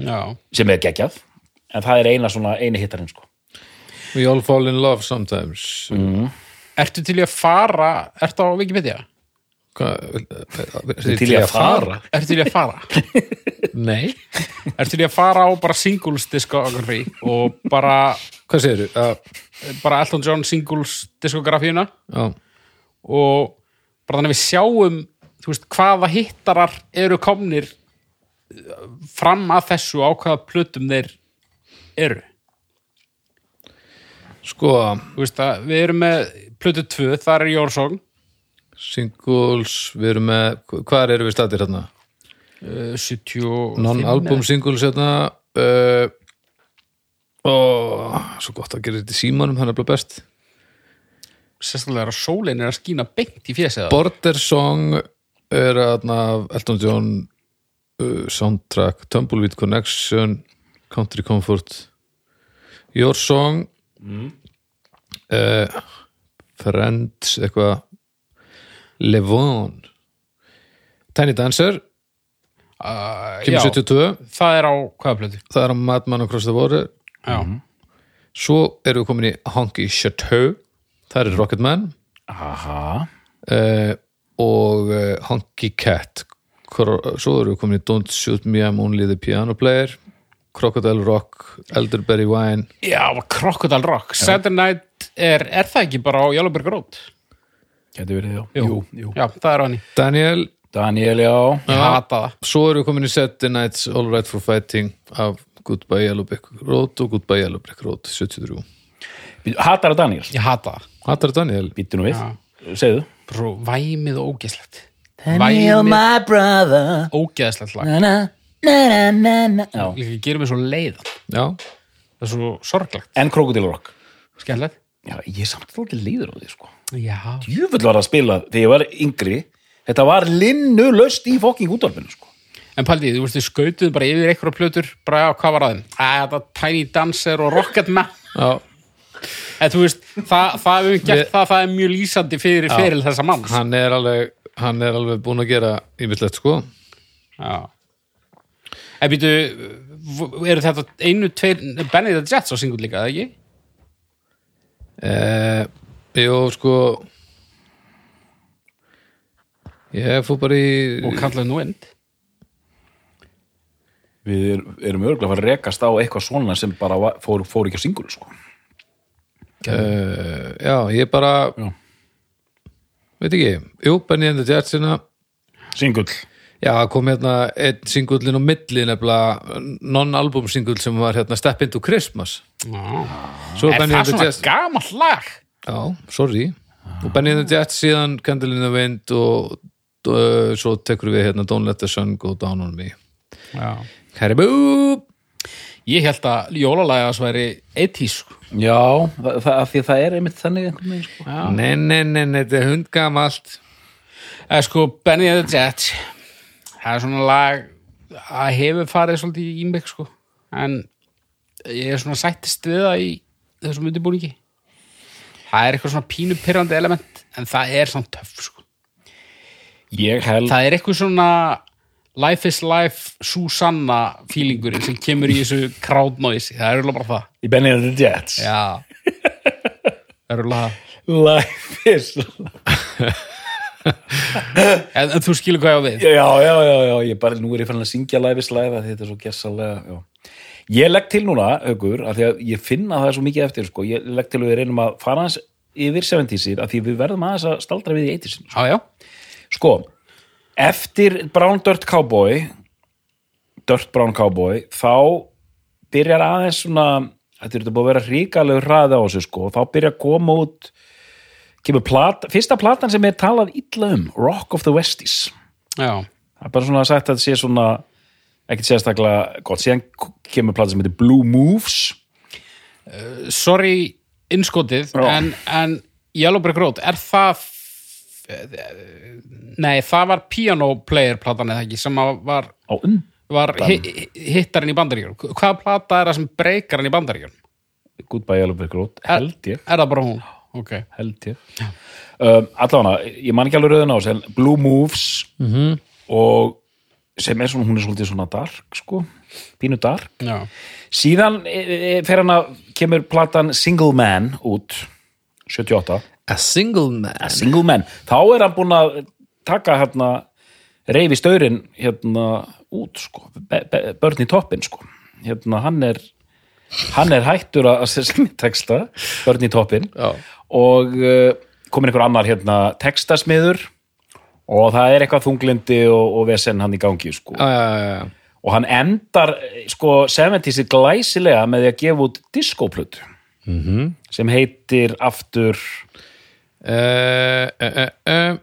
Speaker 6: já.
Speaker 5: sem er geggjað, en það er eina svona eini hittarinn sko.
Speaker 4: We all fall in love sometimes
Speaker 6: Ertu til í að fara, ertu á Wikipedia?
Speaker 4: Hvað,
Speaker 5: Til í að fara?
Speaker 6: Ertu til í að fara? Nei Ertu til í að fara á bara singles diskografi og bara,
Speaker 4: Hvað segirðu? Uh,
Speaker 6: bara Elton John singles diskografíuna
Speaker 4: já,
Speaker 6: og bara þannig við sjáum þú veist, hvaða hittarar eru komnir uh, fram að þessu og á hvaða plötum þeir eru
Speaker 4: sko,
Speaker 6: Þú veist að við erum með plötu 2, þar er Jórsson
Speaker 4: singles, við erum með, hvað eru við statir hérna?
Speaker 6: Eh, 75
Speaker 4: Non-album singles hérna uh, og svo gott að gera þetta í símanum, hann er bara best.
Speaker 6: sérstaklega er að sólin er að skína beint í fjesið á þér.
Speaker 4: Border Song er aðna Elton John uh, soundtrack, Tumbleweed Connection Country Comfort Your Song uh, Friends eitthvað Levon Tiny Dancer
Speaker 6: Já,
Speaker 4: kemur 72,
Speaker 6: Eh, það er á hvaða plötu
Speaker 4: það er á Madman Across the Water
Speaker 6: já,
Speaker 2: Mhm.
Speaker 4: svo erum við komin í Honky Chateau það er Rocketman
Speaker 5: Aha.
Speaker 4: uh, og uh, Honky Cat Kro svo erum við komin í Don't Shoot Me I'm Only the Piano Player Crocodile Rock, Elderberry Wine
Speaker 6: já Crocodile Rock Saturday Night er, er það ekki bara á Jálfberg Road
Speaker 5: Gæti verið, já. jú.
Speaker 6: já, það er á henni,
Speaker 4: Daniel,
Speaker 5: Daniel, já.
Speaker 6: ég hata það
Speaker 4: svo erum við komin í Saturday Nights All Right for Fighting af Goodbye Yellow Brick Road og Goodbye Yellow Brick Road 73
Speaker 5: Býtu, Hatar að Daniel.
Speaker 6: ég hata það,
Speaker 4: Hattar Daniel,
Speaker 5: Býtu nú við. Segðu.
Speaker 6: bara svo væmið og ógeðslegt
Speaker 2: Daniel,
Speaker 6: væmið
Speaker 2: my brother
Speaker 6: ógeðslegt lag
Speaker 2: na, na, na, na, na. Já.
Speaker 6: líka gerum við svo leiðan,
Speaker 4: já
Speaker 6: það er svo sorglegt
Speaker 5: En Krokodil Rock.
Speaker 6: skemmtilegt
Speaker 5: Já, ég er samt þótti leiður á því, sko.
Speaker 6: já,
Speaker 5: Jöfull var að spila þegar ég var yngri. Þetta var linnu löst í fokking útvarpinu, sko.
Speaker 6: En Paldi, þú veist, þið skautuðu bara yfir einhverja plötur, bara á hvað var aðeim? Æ, þetta Tiny Dancer og Rocketman.
Speaker 4: Já,
Speaker 6: En þú veist, það, það hefur gert
Speaker 4: Við-
Speaker 6: það, það er mjög lýsandi fyrir feril þessa manns.
Speaker 4: hann er alveg hann er alveg búin að gera yfirlegt sko
Speaker 6: Já. En býtu, eru þetta einu, tveir, Benedict the Jets á singull líka, eða ekki?
Speaker 4: eh, Jó, sko Ég fór bara í
Speaker 6: Og kallaði nú end.
Speaker 5: Við er, erum örgulega að fara að rekast á eitthvað svona sem bara var, fór, fór ekki að singul, sko.
Speaker 4: Uh, já, ég bara
Speaker 5: Já.
Speaker 4: veit ekki, jú, Benny and the Jets hérna.
Speaker 5: Singull.
Speaker 4: já, það kom hérna einn singullin og milli nefnilega non-album singull sem var hérna Step Into Christmas svo
Speaker 6: Er
Speaker 4: Benny
Speaker 6: það
Speaker 4: and the
Speaker 6: svona
Speaker 4: Jets
Speaker 6: gamalt lag?
Speaker 4: já, sorry, og Benny and the Jets síðan Candle in the Wind og uh, svo tekur við hérna Don't Let the Sun Go Down on Me
Speaker 6: Já.
Speaker 4: Caribou
Speaker 6: Ég held að jólalaga sværi 80s, sko.
Speaker 5: Já, það, það, af því að það er einmitt þannig einhvern veginn, sko.
Speaker 4: nei, nei, nei, nei, þetta er hundgamalt
Speaker 6: Það er sko Benny and the Jets það er svona lag að hefur farið svolítið í mig sko en ég er svona sættist við það í þessum undirbúningi það er eitthvað svona pínupirrandi element en það er svona töff sko
Speaker 5: Ég held
Speaker 6: það er eitthvað svona life is life Susanna feelingurinn sem kemur í þessu crowd noise það er alveg bara það
Speaker 5: í Benny and the Jets.
Speaker 6: já það er alveg það
Speaker 5: Life is...
Speaker 6: en, en þú skilur hvað ég á við
Speaker 5: Já, já, já, já, ég bara, nú er ég fann að syngja Life is Life að þetta er svo gersalega, já. Ég legg til núna, aukur, að því að ég finna að það er svo mikið eftir, sko. Ég legg til að við reynum að fara hans yfir 70-sir, að því við verðum aðeins að staldra við í 80-sir.
Speaker 6: já já
Speaker 5: Sko, eftir Brown Dirt Cowboy Dirt Brown Cowboy þá byrjar aðeins svona þetta er þetta búið að vera ríkalegur hraði á þessu sko þá byrjar að koma út kemur plat, fyrsta platan sem er talað illa um, Rock of the Westies
Speaker 6: já,
Speaker 5: það er bara svona sagt að þetta sé svona ekkert sérstaklega gott síðan kemur platan sem heitir Blue Moves
Speaker 6: sorry innskotið
Speaker 5: Já.
Speaker 6: en, en Yellow Brick Road er það f- nei, það var piano player platan eða ekki sem að var,
Speaker 5: á um, undan
Speaker 6: var hi- hi- hittarinn í bandaríkjum hvaða plata er það sem breykar hann í bandaríkjum
Speaker 5: Goodbye Yellow Brick Road, held ég
Speaker 6: er það bara hún? ok,
Speaker 5: held ég um, allavega, ég man ekki alveg rauðin á þessu en Blue Moves -hmm. og sem er svona, hún er svolítið svona dark sko, pínu dark
Speaker 6: já,
Speaker 5: síðan e, e, fer hann að kemur platan Single Man út 78,
Speaker 4: a single man
Speaker 5: Single Man þá er hann búin að taka hérna reyfi staurin hérna út sko, be, be, börn í toppin sko hérna hann er hann er hættur að að semja texta börn í toppin
Speaker 4: Já.
Speaker 5: og uh, komin einhver annar hérna textasmiður og það er eitthvað þunglindi og, og vesen hann í gangi sko
Speaker 4: já, já, já, já.
Speaker 5: og hann endar eh, sko 70s -ið glæsilega með því að gefa út diskóplötu
Speaker 4: Mhm.
Speaker 5: sem heitir aftur
Speaker 4: Eh, eh, eh, eh.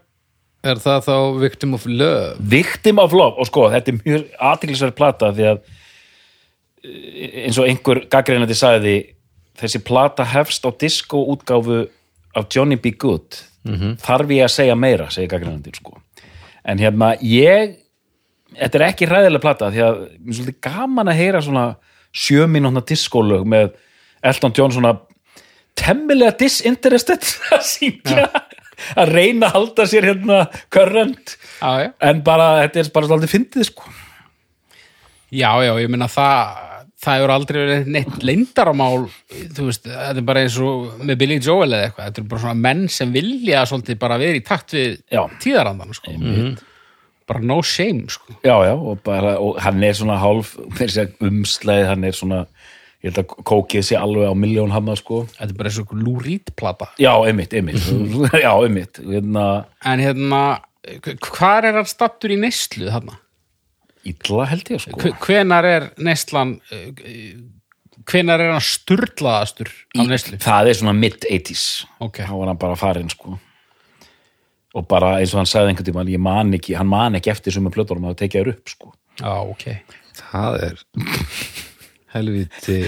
Speaker 4: Er það þá Victim of Love?
Speaker 5: Victim of Love og sko þetta er mjög athyglisverð plata því að eh, eins og einhver gaggreinandi sagði þessi plata hefst á diskó útgáfu af Johnny B. Good þarf ég að segja meira, segir gaggreinandi sko. en hérna ég þetta er ekki ræðilega plata því að mér er svolítið gaman að heyra svona sjöminúna diskólög með Elton John svona temmilega disinterested að syngja að reyna að halda sér hérna current
Speaker 4: Já, já.
Speaker 5: en bara þetta er bara svolítið fyndið sko
Speaker 6: Já, já, ég meina það það hefur aldrei verið neitt leindaramál þú veist, þetta er bara eins og með Billy Joel eða eitthvað, þetta er bara svona menn sem vilja svolítið bara vera í takt við
Speaker 5: Já.
Speaker 6: tíðarandan, sko bara no shame, sko
Speaker 5: já já og, bara, og hann er svona hálf fyrir sig umsleið hann er svona ég held að kókið sé alveg á miljón hafna sko
Speaker 6: þetta er bara eins og Lou Reed plata
Speaker 5: já einmitt, einmitt já einmitt hérna
Speaker 6: en hérna, h- hvar er hann stattur í neyslu þarna?
Speaker 5: illa held ég sko
Speaker 6: H- hvenar er neyslan eh, hvenar er hann sturlaðastur af neyslu?
Speaker 5: það er svona mid-80s
Speaker 6: Ok.
Speaker 5: þá var hann bara farinn sko og bara eins og hann sagði einhvern tímann ég man ekki, hann man ekki eftir sem að plötunum að tekja þér upp sko
Speaker 6: Já, ok
Speaker 4: Það er helviti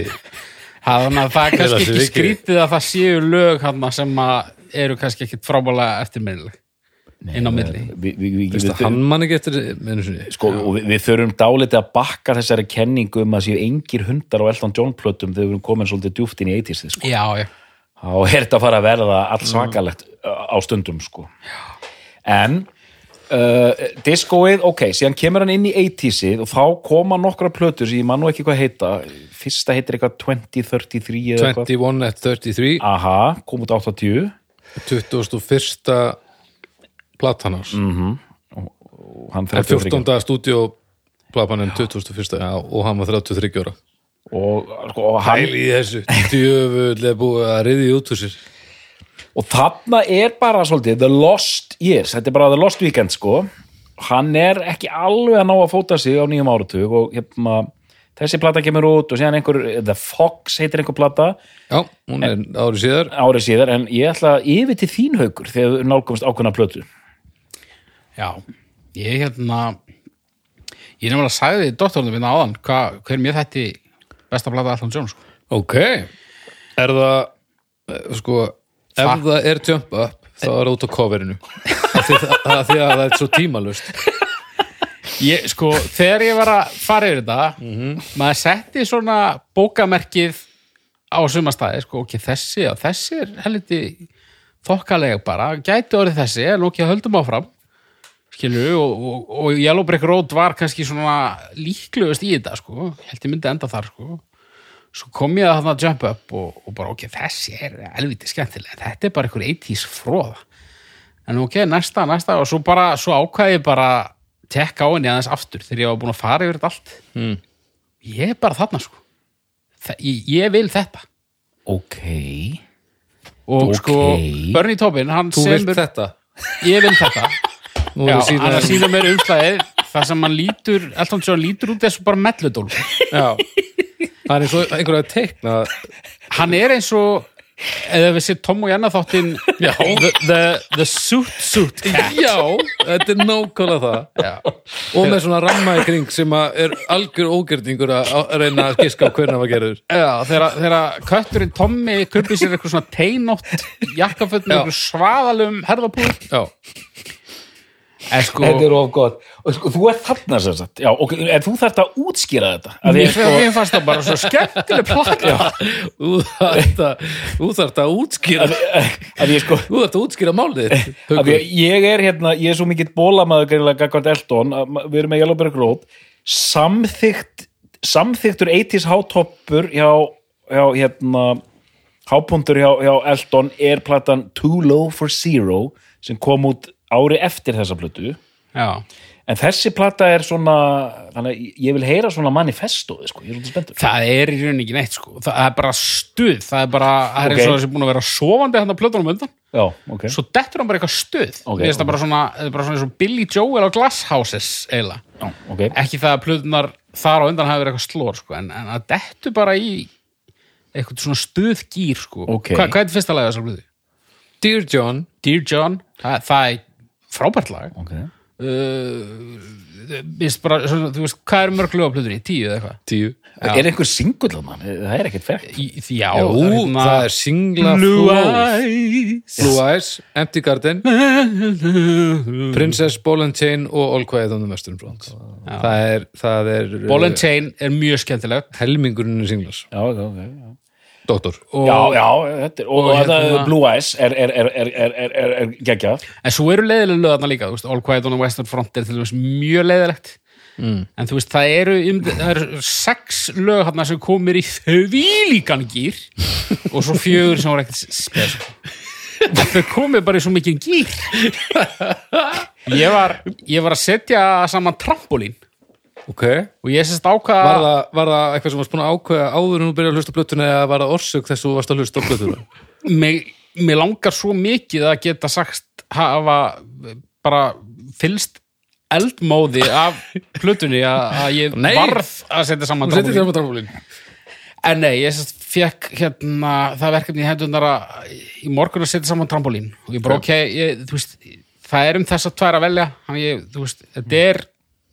Speaker 6: Það þannig að það er
Speaker 4: Eða
Speaker 6: kannski
Speaker 4: sem
Speaker 6: ekki
Speaker 4: við gerum.
Speaker 6: skrítið að það séu lög hann sem að eru kannski ekkit frábálega eftirminnileg inn á milli.
Speaker 5: vi, vi, vi,
Speaker 4: Veistu,
Speaker 5: við,
Speaker 4: Hann man ekki eftir einu sinni.
Speaker 5: sko, og við, við þurfum dálítið að bakka þessari kenningu um að séu engir hundar á Elton John plötum þegar við erum komin svolítið djúft inn í 80s sko.
Speaker 6: Já, já.
Speaker 5: þá er þetta að fara að verða allsvakalegt á stundum sko. en uh, diskóið, ok, síðan kemur hann inn í 80-sið og þá koma nokkra plötur sem ég man nú ekki hvað heita fyrsta heitir eitthvað 2033 eða eitthvað
Speaker 4: 21 at 33
Speaker 5: aha, kom út 80
Speaker 4: 21. platanars mm,
Speaker 5: og hann 33
Speaker 4: 14. stúdíóplatanin 21. Já, og hann var 33 ára
Speaker 5: og, sko, og, hann,
Speaker 4: Pæli í þessu, djöfull er búið að riði út úr sér
Speaker 5: og þarna er bara svolítið The Lost Years, þetta er bara The Lost Weekend sko, hann er ekki alveg að ná að fóta sig á nýjum áratug og hérna, þessi plata kemur út og síðan einhver, The Fox heitir einhver plata
Speaker 4: Já, hún er árið síðar
Speaker 5: árið síðar en ég ætla yfir til þín haukur þegar þú nálgumst ákveðna plötu
Speaker 6: Já, ég hérna, ég nefnilega sagði dóttornum minna áðan hva, hver mér þætti besta blata Allan Jones. Sko.
Speaker 4: Ok, er það eh, sko, ef
Speaker 6: Það-
Speaker 4: það er jump up þá er það út á coverinu af því, að, af því að það er svo tímalust
Speaker 6: Ég, sko, þegar ég var að fara yfir þetta, maður setti svona bókamerkið á suma staði, sko, ok, þessi, já, þessi er helviti þokkalega bara, gæti orðið þessi, en ok, höldum áfram, skilur, og, og, og Yellow Brick Road var kannski svona líklegust í þetta, sko, Ég held ég myndi enda þar, sko, svo kom ég að þarna jump up og, og bara, ok, þessi er helviti skemmtilega, þetta er bara einhver 80s fróða, en ok, næsta, næsta, og svo bara, svo ákvæði ég bara tekka á henni aðeins aftur þegar ég var búin að fara yfir þetta allt mm.
Speaker 4: Hmm.
Speaker 6: ég er bara þarna, sko Þa, ég, ég vil þetta
Speaker 5: ok
Speaker 6: og
Speaker 5: Ok.
Speaker 6: sko Bernie Tobin hann
Speaker 4: Þú vilt
Speaker 6: semur,
Speaker 4: þetta
Speaker 6: ég vil þetta já,
Speaker 4: Nú er það
Speaker 6: hann
Speaker 4: síðan
Speaker 6: sýnir mér umslæðið þar sem hann lítur, Elton John lítur út þessu bara melludól
Speaker 4: Já, það er eins og einhverja að teikna
Speaker 6: hann er eins og eða við sér Tom og Janna þáttinn já, the, the, the suit suit cat
Speaker 4: Já, þetta er nákvæmlega það
Speaker 6: já,
Speaker 4: og með svona ramma í kring sem að er algjör ógjörningur að að reyna að giska á hvernig var gerður
Speaker 6: já þegar, þegar kötturinn Tommy kaupir sér eitthvað svona teinótt jakkafötn með eitthvað svaðalum herðabúð
Speaker 4: Já,
Speaker 6: en sko,
Speaker 5: er of gott og sko, þú ert þarna sem sagt já, ok, en þú þarft að útskýra þetta að
Speaker 6: mér
Speaker 5: ég, sko,
Speaker 6: mér fannst það bara svo skemmtileg plakka
Speaker 4: þú þarft að- þú þarft að útskýra
Speaker 5: að ég sko
Speaker 4: Þú þarft að útskýra málið þitt,
Speaker 5: að
Speaker 4: Haukur.
Speaker 5: ég, ég er hérna, ég er svo mikill bólamaður gæmlega gagvart Elton, að ma- við erum með Yellow Brick Road samþygt samþyktur 80s hátoppur hjá, hjá hérna hápundur hjá, hjá Elton er platan Too Low for Zero sem kom út ári eftir þessa plötu
Speaker 6: já.
Speaker 5: en þessi plata er svona þannig, að ég- ég vil heyra svona manifestoði sko, ég er svona spenntur
Speaker 6: Það er í rauninni ekki neitt sko. Það er bara stuð, það er bara, það er
Speaker 5: Ok.
Speaker 6: eins og þessi búin að vera sofandi hann að plötunum undan,
Speaker 5: Já, ok
Speaker 6: svo dettur hann bara eitthvað stuð.
Speaker 5: Ok,
Speaker 6: Mér finnst það
Speaker 5: ok.
Speaker 6: bara svona, það er bara svona eins og Billy Joel á Glass Houses eiginlega.
Speaker 5: Já, ok.
Speaker 6: Ekki það að plötunar þar á undan hafi verið eitthvað slór sko, en, en það dettur bara í eitthvað svona stuðgýr sko.
Speaker 5: Ok.
Speaker 6: Hva, hvað er þetta fyrsta lagið þessar plötu?
Speaker 4: Dear John
Speaker 6: Dear John, það, það er frábært lag.
Speaker 5: okay.
Speaker 6: Mér finnst bara, svona, þú veist, hvað er mörg lög á plötunni? Tíu eða eitthvað?
Speaker 4: Tíu
Speaker 5: Er einhver singull hann? Það er ekkert fært
Speaker 6: Í- Já,
Speaker 4: Já,
Speaker 6: það er hérna-
Speaker 4: það er singla
Speaker 6: Blue
Speaker 4: Fools.
Speaker 6: Eyes
Speaker 4: Blue Eyes, Empty Garden Princess, Ball and Chain og All Quiet on the Western Front það er, það er
Speaker 6: Ball and Chain er mjög skemmtilegt
Speaker 4: helmingurinn í singlas
Speaker 5: Já, ok, ok já.
Speaker 4: Dóttor
Speaker 6: og,
Speaker 5: Já, já, þetta er, og, og
Speaker 6: hérna-
Speaker 5: hérna, Blue Eyes er, er, er, er, er, er, er, er geggjað
Speaker 6: en svo eru leiðilega löðarna líka þú veist, All Quiet on the Western Front er til dæmis mjög leiðilegt mm. en þú veist, það eru, ym- það eru sex lög hann sem komir í þvílíkan gýr og svo fjögur sem voru ekkert spes þau komið bara í svo mikið gýr ég var, ég var að setja saman trampolín
Speaker 4: okay.
Speaker 6: og ég sérst ákvað
Speaker 4: var, það, var það eitthvað sem varst búin að ákveða áður en þú byrjaði að hlusta á plötuna eða var það orsök þess að þú varst að hlusta á plötuna
Speaker 6: mig, mig langar svo mikið að geta sagt hafa bara fylst eldmóði af plötunni að að ég
Speaker 4: Nei.
Speaker 6: varð að setja saman
Speaker 4: Þú settir
Speaker 6: trommur.
Speaker 4: þér með tráfólin
Speaker 6: en nei, ég sérst fekk hérna, það verkefni í hendunar að í morgun að setja saman trampolín og ég bara ok, ég, þú veist það er um þess að tværa velja þannig ég, þú veist, þetta er,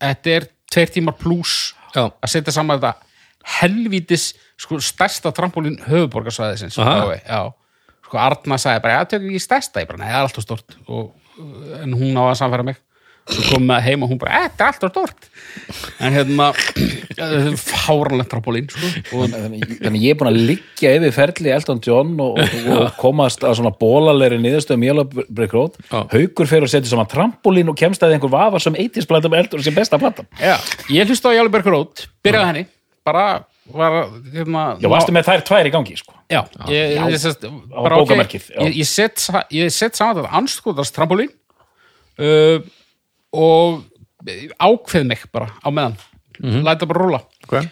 Speaker 6: þetta er tveir tímar pluss
Speaker 4: Mm. Já.
Speaker 6: að setja saman þetta helvítis sko, stærsta trampolín höfuborgarsvæðisins
Speaker 4: Aha.
Speaker 6: á, já, sko Arna sagði bara, já, tökum ekki stærsta ég bara, nei, það er alltaf stort og, en hún á að samfæra mig svo kom með heim og hún bara, "Eh, þetta er alltaf stort en hérna fáranlegt trampolín sko, og
Speaker 5: þannig, þannig ég er búin að liggja yfir ferli Elton John og, og, og komast að svona bólalegri um niðurstöðum Jálabrik Rót
Speaker 4: Já.
Speaker 5: haukur fer og setur saman trampolín og kemst að einhver vafa sem 80s platan með Elton sem besta platan
Speaker 6: Já, ég hlusta á Jálberg Rót, byrjaði á henni, bara var, hérna...
Speaker 5: Já, varstu með þær tvær í gangi sko.
Speaker 6: Já, ég,
Speaker 5: Já.
Speaker 6: ég, sest, bara ok,
Speaker 5: bókamerkið, já.
Speaker 6: ég, ég set, sa- ég set saman þetta anskotast trampolín uh, og ákveð mig bara á meðan,
Speaker 5: Mhm.
Speaker 6: læta bara rúla.
Speaker 4: okay.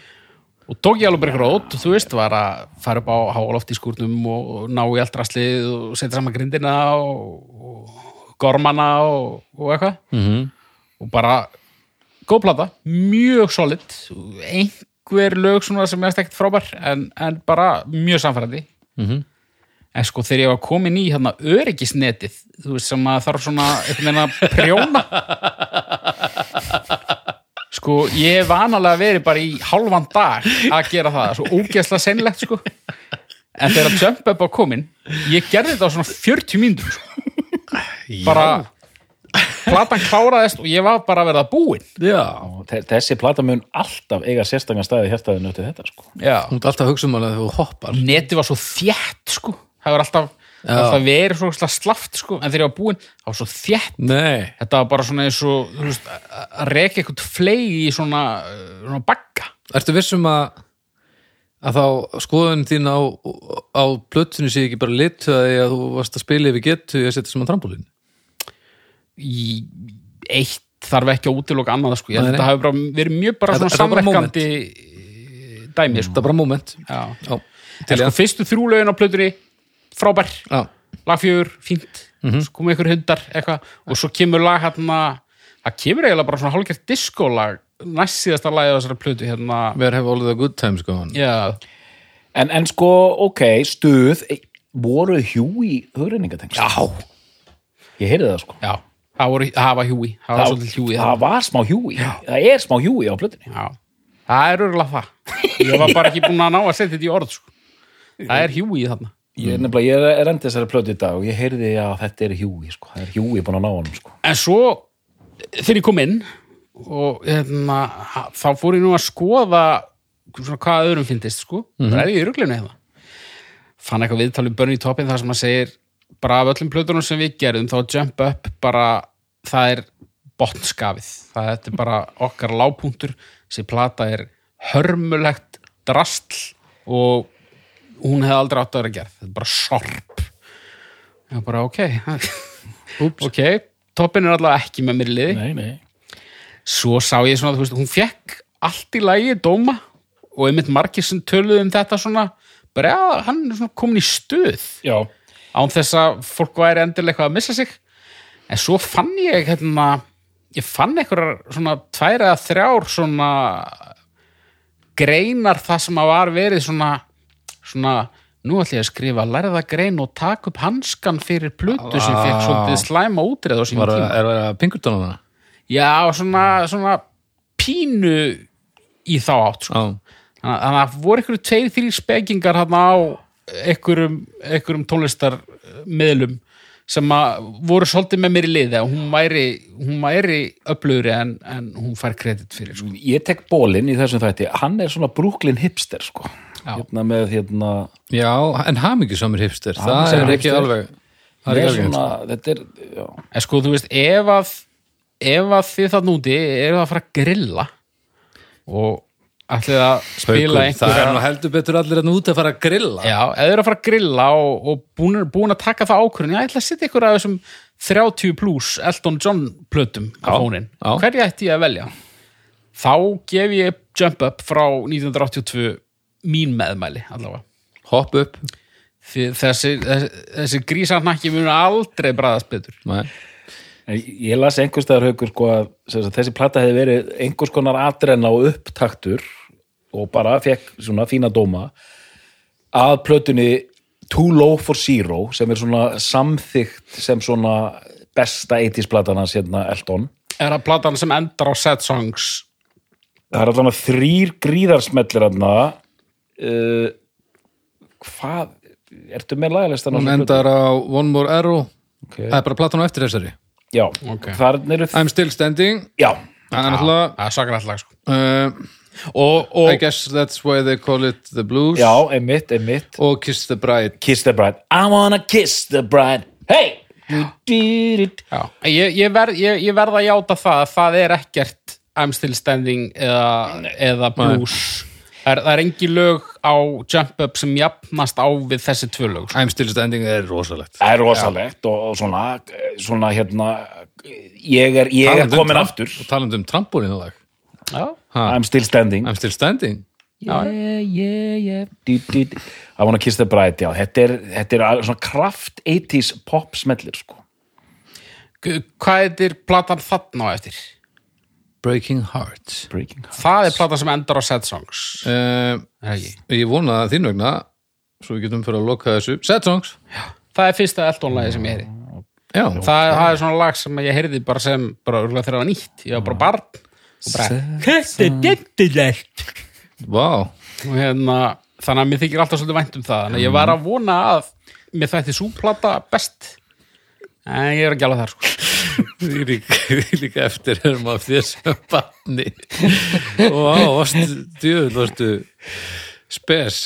Speaker 6: Og tók ég alveg bara eitthvað rót, þú veist, var að fara upp á háloft í skúrnum og og ná í allt rastlið og setja saman grindina og, og gormana og, og eitthvað. -hmm.
Speaker 5: Mhm.
Speaker 6: Og bara góð plata, mjög solid, einhver lög svona sem ég veist ekkert frábær, en, en bara mjög samfærandi. -hmm. En sko, þegar ég var komin í hérna öryggisnetið, þú veist, sem að þarf svona einhvern veginn að prjóna. Sko, ég hef vanalega verið bara í hálfan dag að gera það, svo ógeðslega senlegt, sko. En þegar Jump Up á komin, ég gerði þetta á svona 40 mínútur, sko. Bara, platan kláraðist og ég var bara að verða búinn.
Speaker 4: Já,
Speaker 5: Og þe- þessi platan mun alltaf eiga sérstakann staði hértaðinu til þetta sko.
Speaker 6: Já.
Speaker 4: hún er alltaf að hugsa um hana þegar þú hoppar
Speaker 6: Neti var svo þétt, sko. Það var alltaf, alltaf verið svo slaft, sko. En þegar ég var búinn, það var svo þétt.
Speaker 4: Nei,
Speaker 6: Þetta var bara svona eins og, þú veist, að að reka eitthvað flegi í svona, uh, svona bagga.
Speaker 4: ertu vissum að að þá skoðun þín á, á plötunni sé ekki bara litu að því að þú varst að spila yfir getu í að setja saman trampolín
Speaker 6: í eitt þarf ekki að útiloka annað sko. ég held
Speaker 4: Nei,
Speaker 6: að
Speaker 4: nei.
Speaker 6: þetta hafi bara verið mjög bara
Speaker 4: Þetta-
Speaker 6: svona
Speaker 4: þetta var bara Mm.
Speaker 6: samverkandi dæmi
Speaker 4: Það
Speaker 6: sko.
Speaker 4: er bara moment
Speaker 6: Já.
Speaker 4: Já,
Speaker 6: en sko fyrstu þrjú lögin á plötunni frábær,
Speaker 4: já,
Speaker 6: lagfjögur, fínt svo koma ykkur hundar, eitthvað og svo kemur lag hérna það kemur eiginlega bara svona hálfgjart diskólag næst síðasta lagi á þessari plötu hérna,
Speaker 4: við erum all the good time sko
Speaker 6: já,
Speaker 5: en, en sko, ok, stuð e- voru hjú í hugreiningatengst Já Ég heyrði það sko
Speaker 6: já það, voru, það var hjúi, það var svolítið hjúi
Speaker 5: það var smá hjúi, það er smá hjúi á plötunni
Speaker 6: Já, það er örgulega það ég var bara ekki búin að ná að setja þetta í orð sko. það er hjúi þarna
Speaker 5: Ég er nefnilega, ég er endið þessari plötu í dag og ég heyrði að þetta er hjúi, sko. Það er hjúi búin að ná honum, sko.
Speaker 6: en svo þegar ég kom inn og hérna, þá fór ég nú að skoða svona hvað öðrum finnist sko, það er ég í ruglunni hérna fann eitthvað viðtalið börn í toppin þar sem maður segir bara af öllum plötunum sem við gerðum þá jump up bara það er botnskafið það þetta er bara okkar lágpunktur þessi plata er hörmulegt drastl og hún hefði aldrei átt að vera gerð þetta er bara sorp ég var bara ok ok, toppin er allavega ekki með mér í liði
Speaker 5: Nei, nei.
Speaker 6: svo sá ég svona, þú veist, hún fekk allt í lagi dóma og einmitt margir sem töluðu um þetta svona bara, já, hann er svona komin í stuð
Speaker 5: Já,
Speaker 6: án þess að fólk væri endilega eitthvað að missa sig en svo fann ég hérna, ég fann einhverjar svona tvær eða þrjár svona greinar það sem að var verið svona svona, nú ætlum ég að skrifa lærða grein og taka upp hanskan fyrir plötu sem fekk svolítið slæma útreð á sínum
Speaker 4: Var,
Speaker 6: tíma
Speaker 4: er það pingurtónana?
Speaker 6: Já, svona, svona pínu í þá átt sko.
Speaker 4: Já.
Speaker 6: þannig að- þannig að voru einhverju tveir, þrjir spekingar hann á einhverjum, einhverjum tónlistarmiðlum sem að voru svolítið með mér í liði að hún væri, hún væri öflugri en, en hún fær kredit fyrir sko.
Speaker 5: ég tek bólinn í þessum þætti, hann er svona Brooklyn hipster, sko.
Speaker 6: Já.
Speaker 5: Hérna með, hérna,
Speaker 4: Já, en hamingisamur hipster, það
Speaker 5: Hamingjusamur
Speaker 4: er ekki
Speaker 5: hipster.
Speaker 4: alveg það er
Speaker 5: ég
Speaker 4: ekki
Speaker 5: er sko.
Speaker 4: alveg
Speaker 5: svona, þetta er, já.
Speaker 6: en sko þú veist ef að, ef að þið það núti eru að fara að grilla og ætlið að spila
Speaker 4: Haukur, Það er
Speaker 6: einhverja
Speaker 4: nú heldur betur allir að út að fara að grilla
Speaker 6: Já, eða þeir eru að fara að grilla og, og búin, búin að taka það ákvörðin, ég ætla að setja ykkur af þessum 30 plus Elton John plötum á fónin.
Speaker 4: já.
Speaker 6: Hverja ætti ég að velja? Þá gef ég Jump Up frá 1982 mín meðmæli allavega.
Speaker 4: Hopp upp
Speaker 6: Því Þessi, þessi, þessi grísarnakki mun aldrei bræðast betur.
Speaker 4: Nei.
Speaker 5: En Ég ég las einhverstaðar haukur sko að sem sagt, þessi plata hefði verið einhvers konar atrenna og upptaktur og bara fekk svona fína dóma að plötunni Too Low for Zero sem er svona samþygt sem svona besta 80s platan hans hérna Elton.
Speaker 6: Er það platan sem endar á Sad Songs?
Speaker 5: Það er allan að þrýr gríðarsmellir hann að uh, hvað, ertu með lagalistan? á
Speaker 4: Hún
Speaker 5: þessum
Speaker 4: endar á One More Arrow
Speaker 5: plötu?
Speaker 4: Það
Speaker 5: Ok.
Speaker 4: er bara platan á eftir þessari
Speaker 5: Já,
Speaker 6: Ok.
Speaker 5: þarna eru
Speaker 4: I'm Still Standing
Speaker 5: Já,
Speaker 4: Það er náttúrulega
Speaker 6: Það er sakraðlega sko.
Speaker 4: uh,
Speaker 6: Og,
Speaker 4: I
Speaker 6: og
Speaker 4: guess that's why they call it the blues
Speaker 5: já, einmitt, einmitt
Speaker 4: og Kiss the Bride
Speaker 5: Kiss the Bride I wanna kiss the bride Hey Du-du-du-du.
Speaker 6: já, ég, ég, verð, ég, ég verð að játa það að það er ekkert I'm Still Standing eða, eða Blues það er, það er engi lög á Jump Up sem jafnast á við þessi tvö lög sko.
Speaker 4: I'm Still Standing er rosalegt
Speaker 5: Það er rosalegt og, og svona, svona hérna ég er, ég er
Speaker 4: Talandi um
Speaker 5: komin
Speaker 4: tramp-
Speaker 5: aftur
Speaker 4: Og talandi um trampolínu lag
Speaker 6: já,
Speaker 4: Ha,
Speaker 5: I'm still standing
Speaker 4: I'm Still Standing
Speaker 5: Yeah, yeah, yeah Du-du-du. I wanna kiss the bride já. Þetta er, þetta er al- svona kraft 80s pop smellir sko
Speaker 6: G- hvað heitir platan þarna á eftir?
Speaker 4: Breaking Hearts
Speaker 5: Breaking Heart
Speaker 6: það er platan sem endar á Sad Songs
Speaker 4: uh,
Speaker 6: Er það ekki?
Speaker 4: Ég vona það þín vegna svo við getum fyrir að loka þessu Sad Songs
Speaker 6: það er fyrsta Elton-lagi sem ég heyri
Speaker 4: Já,
Speaker 6: það, það er svona lag sem ég heyrði bara sem bara örgulega þegar það var nýtt, ég var bara barn og bara, þetta er dendilegt
Speaker 4: vá
Speaker 6: og hérna, þannig að mér þykir alltaf svolítið vænt um það, þannig að ég var að vona að mér þætti súplata best en ég er ekki alveg þar sko.
Speaker 4: Því líka, því líka eftir erum af þér sem barni og á, varstu, djöfull varstu spes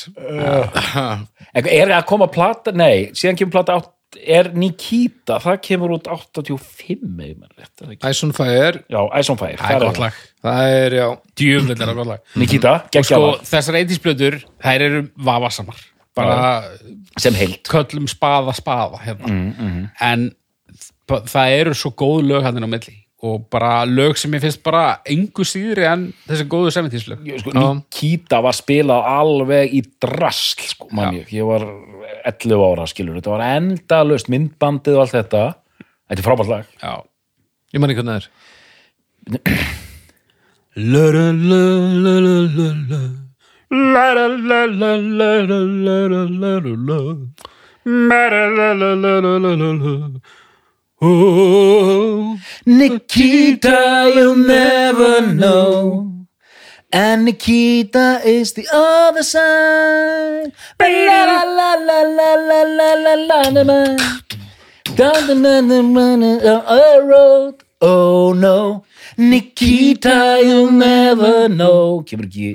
Speaker 5: Er að koma plata? Nei, síðan kemur plata átt, er Nikita það kemur út 85 ef maður rétt, er það ekki?
Speaker 4: Ice on Fire,
Speaker 5: Já, Ice on Fire
Speaker 6: það
Speaker 5: þar
Speaker 6: er
Speaker 5: er
Speaker 6: gott
Speaker 5: það.
Speaker 6: lag,
Speaker 4: það er já
Speaker 6: djöfull er það gott lag
Speaker 5: Nikita,
Speaker 6: og sko,
Speaker 5: geggjala
Speaker 6: þessar eitísblöður, þær eru vafasamar, bara
Speaker 5: sem heild
Speaker 6: köllum spaða spaða hérna. en þ- það eru svo góð lög hann á milli og bara lög sem ég finnst bara engu síðri en þessi góðu 70s lög
Speaker 5: Ég, sko, Nikita var spilað alveg í drasl sko, man ég, ég var 11 ára skilur, þetta var endalaust myndbandið og allt þetta þetta er frábært lag
Speaker 6: já,
Speaker 4: ég manni hvernig
Speaker 5: Nikita you'll never know and Nikita is the other side la la la la la la la la la la la down the na na na na on a road oh no Nikita you'll never know kemur ekki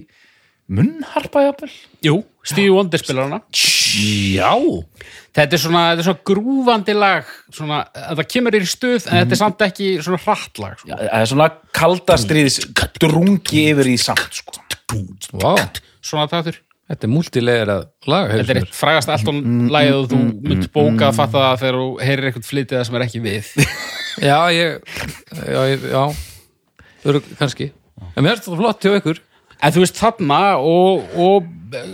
Speaker 5: munnharpa jafnvel
Speaker 6: jú, Stevie Wonder spilar hana
Speaker 5: já
Speaker 6: Þetta er svona, þetta er svona grúfandi lag svona, þetta kemur þér í stuð en þetta er samt ekki svona hratt lag sko. svona.
Speaker 5: það er svona kaldastriðis drungi yfir í samt sko.
Speaker 4: vá,
Speaker 6: svona taktur
Speaker 4: þetta er múltilegrað lag
Speaker 6: Þetta er Mm,
Speaker 4: heyrðu
Speaker 6: eitt
Speaker 4: mér.
Speaker 6: mm, frægast Elton lagið og þú mynd bóka að fatta það þegar þú heyrir eitthvað flytið það sem er ekki við
Speaker 4: já, ég, já, ég, já, örug, kannski. En mér finnst þetta flott hjá ykkur.
Speaker 6: en þú veist þarna og, og eh,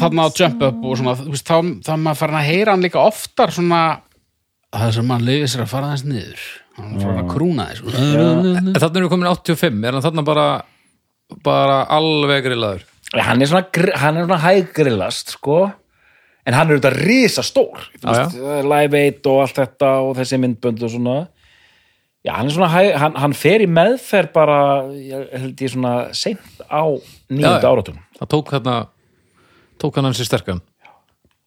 Speaker 6: þarna á jump up og svona, þú veist, þá, þá er maður farin að heyra hann líka oftar svona það sem maður lifið sér að fara þess niður hann er farin að krúna sko. þess
Speaker 4: En þarna erum við komin í 85, er hann þarna bara, bara alveg grillaður.
Speaker 5: hann er svona, gr- hann er svona hæggrillast sko en hann er auðvitað risastór Þú
Speaker 4: Já,
Speaker 5: veist, eh, Live 8 og allt þetta og þessi myndbönd og svona já, hann er svona hæg, hann, hann fer í meðferð bara, ég held ég svona seint á
Speaker 4: Já, já.
Speaker 5: nýjönda áratum
Speaker 4: Það tók hérna, tók hann hans í sterkan.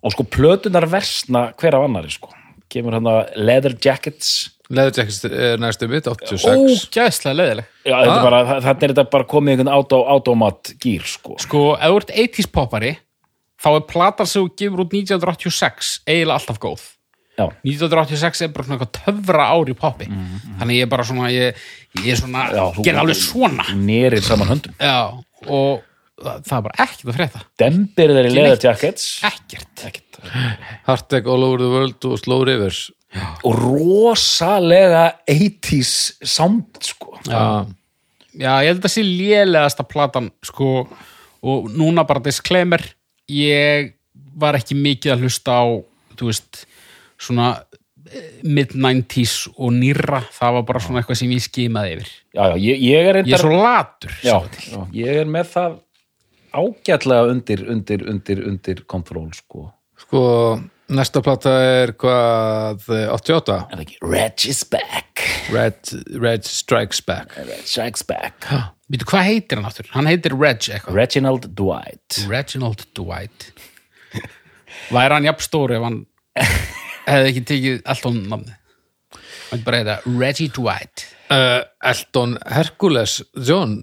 Speaker 5: og sko plötunar versna hver af annari sko kemur hann að Leather Jackets
Speaker 4: Leðurjackist er næstu mitt, 86.
Speaker 6: ógæðslega leiðileg
Speaker 5: já, þetta
Speaker 4: Ah.
Speaker 5: er bara, þannig er þetta bara komið í einhvern auto, automat gýr sko
Speaker 6: sko, ef þú ert 80s poppari þá er platar sem þú gefur út 1986 eiginlega alltaf góð
Speaker 5: já,
Speaker 6: 1986 er bara svona eitthvað töfra ár í poppi þannig ég er bara svona ég, ég er svona,
Speaker 5: Mhm, já þú-
Speaker 6: gerði alveg svona
Speaker 5: nerir saman höndum
Speaker 6: já, og það það er bara ekkert að frétta
Speaker 5: dembir þeir í Leather
Speaker 6: neitt.
Speaker 5: Jackets
Speaker 6: ekkert, ekkert.
Speaker 4: Hardtech all over the world og slow rivers.
Speaker 5: og rosalega 80s sound sko
Speaker 4: Já.
Speaker 6: já, ég held að það sé lélegasta platan sko, og núna bara disclaimer ég var ekki mikið að hlusta á þú veist, svona eh, mid-90s og nýra það var bara svona eitthvað sem ég skimaði yfir
Speaker 5: já, já, ég, ég er
Speaker 6: ég er
Speaker 5: reyndar
Speaker 6: svo latur
Speaker 5: já, já, ég er með það ágætlega undir, undir, undir, undir kontrol sko
Speaker 4: Sko, næsta plata er hvað, 88?
Speaker 5: Er það ekki? Reg is back
Speaker 4: Red, Red Strikes Back.
Speaker 5: Reg strikes back
Speaker 6: Býtu, Sko, hvað heitir hann áttur? Hann heitir Reg eitthvað.
Speaker 5: Reginald Dwight
Speaker 6: Reginald Dwight. Væri hann jafn stóri ef hann hefði ekki tekið allt án namni? Hann bara heita Reggie Dwight.
Speaker 4: Uh, Elton Hercules John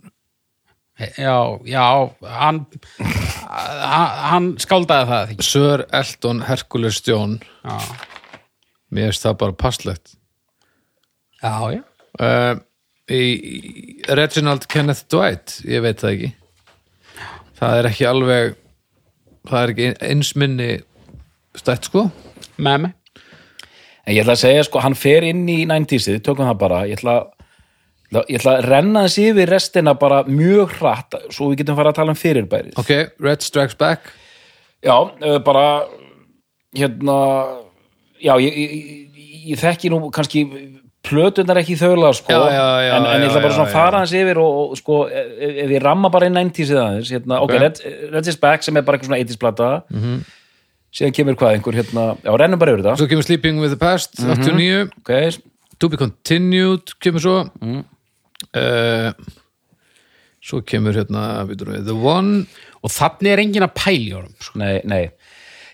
Speaker 6: Já, já, hann, hann, hann skáldaði það ekki.
Speaker 4: Sir Elton Hercules John
Speaker 6: Já,
Speaker 4: mér finnst það bara passlegt
Speaker 6: já, já.
Speaker 4: uh, í, í- Reginald Kenneth Dwight ég veit það ekki það er ekki alveg það er ekki eins minni stætt sko
Speaker 6: Með mig.
Speaker 5: En ég ætla að segja sko, hann fer inn í 90sið, tökum það bara ég ætla, að- ég ætla að renna þessi yfir restina bara mjög hratt svo við getum fara að tala um fyrirbærið
Speaker 4: ok, Red Strikes Back
Speaker 5: Já, eh, bara hérna já, ég, ég, ég- ég þekki nú kannski plötunar ekki þauðlega sko,
Speaker 4: Já, já, já,
Speaker 5: en, en ég ætla
Speaker 4: já,
Speaker 5: bara
Speaker 4: já,
Speaker 5: svona
Speaker 4: já.
Speaker 5: að fara hans yfir og, og sko, ef, ef ég ramma bara inn 90s eða aðeins, hérna, ok,
Speaker 4: Ok. Mhm.
Speaker 5: okay. Red is Back sem er bara eitthvað svona 80s plata síðan kemur hvað einhver, hérna, já, rennum bara yfir það
Speaker 4: svo kemur Sleeping with the Past 89,
Speaker 5: ok,
Speaker 4: To Be Continued kemur svo uh, svo kemur hérna við erum við, The One
Speaker 6: Og þannig er enginn að pæli honum. Sko.
Speaker 5: nei, nei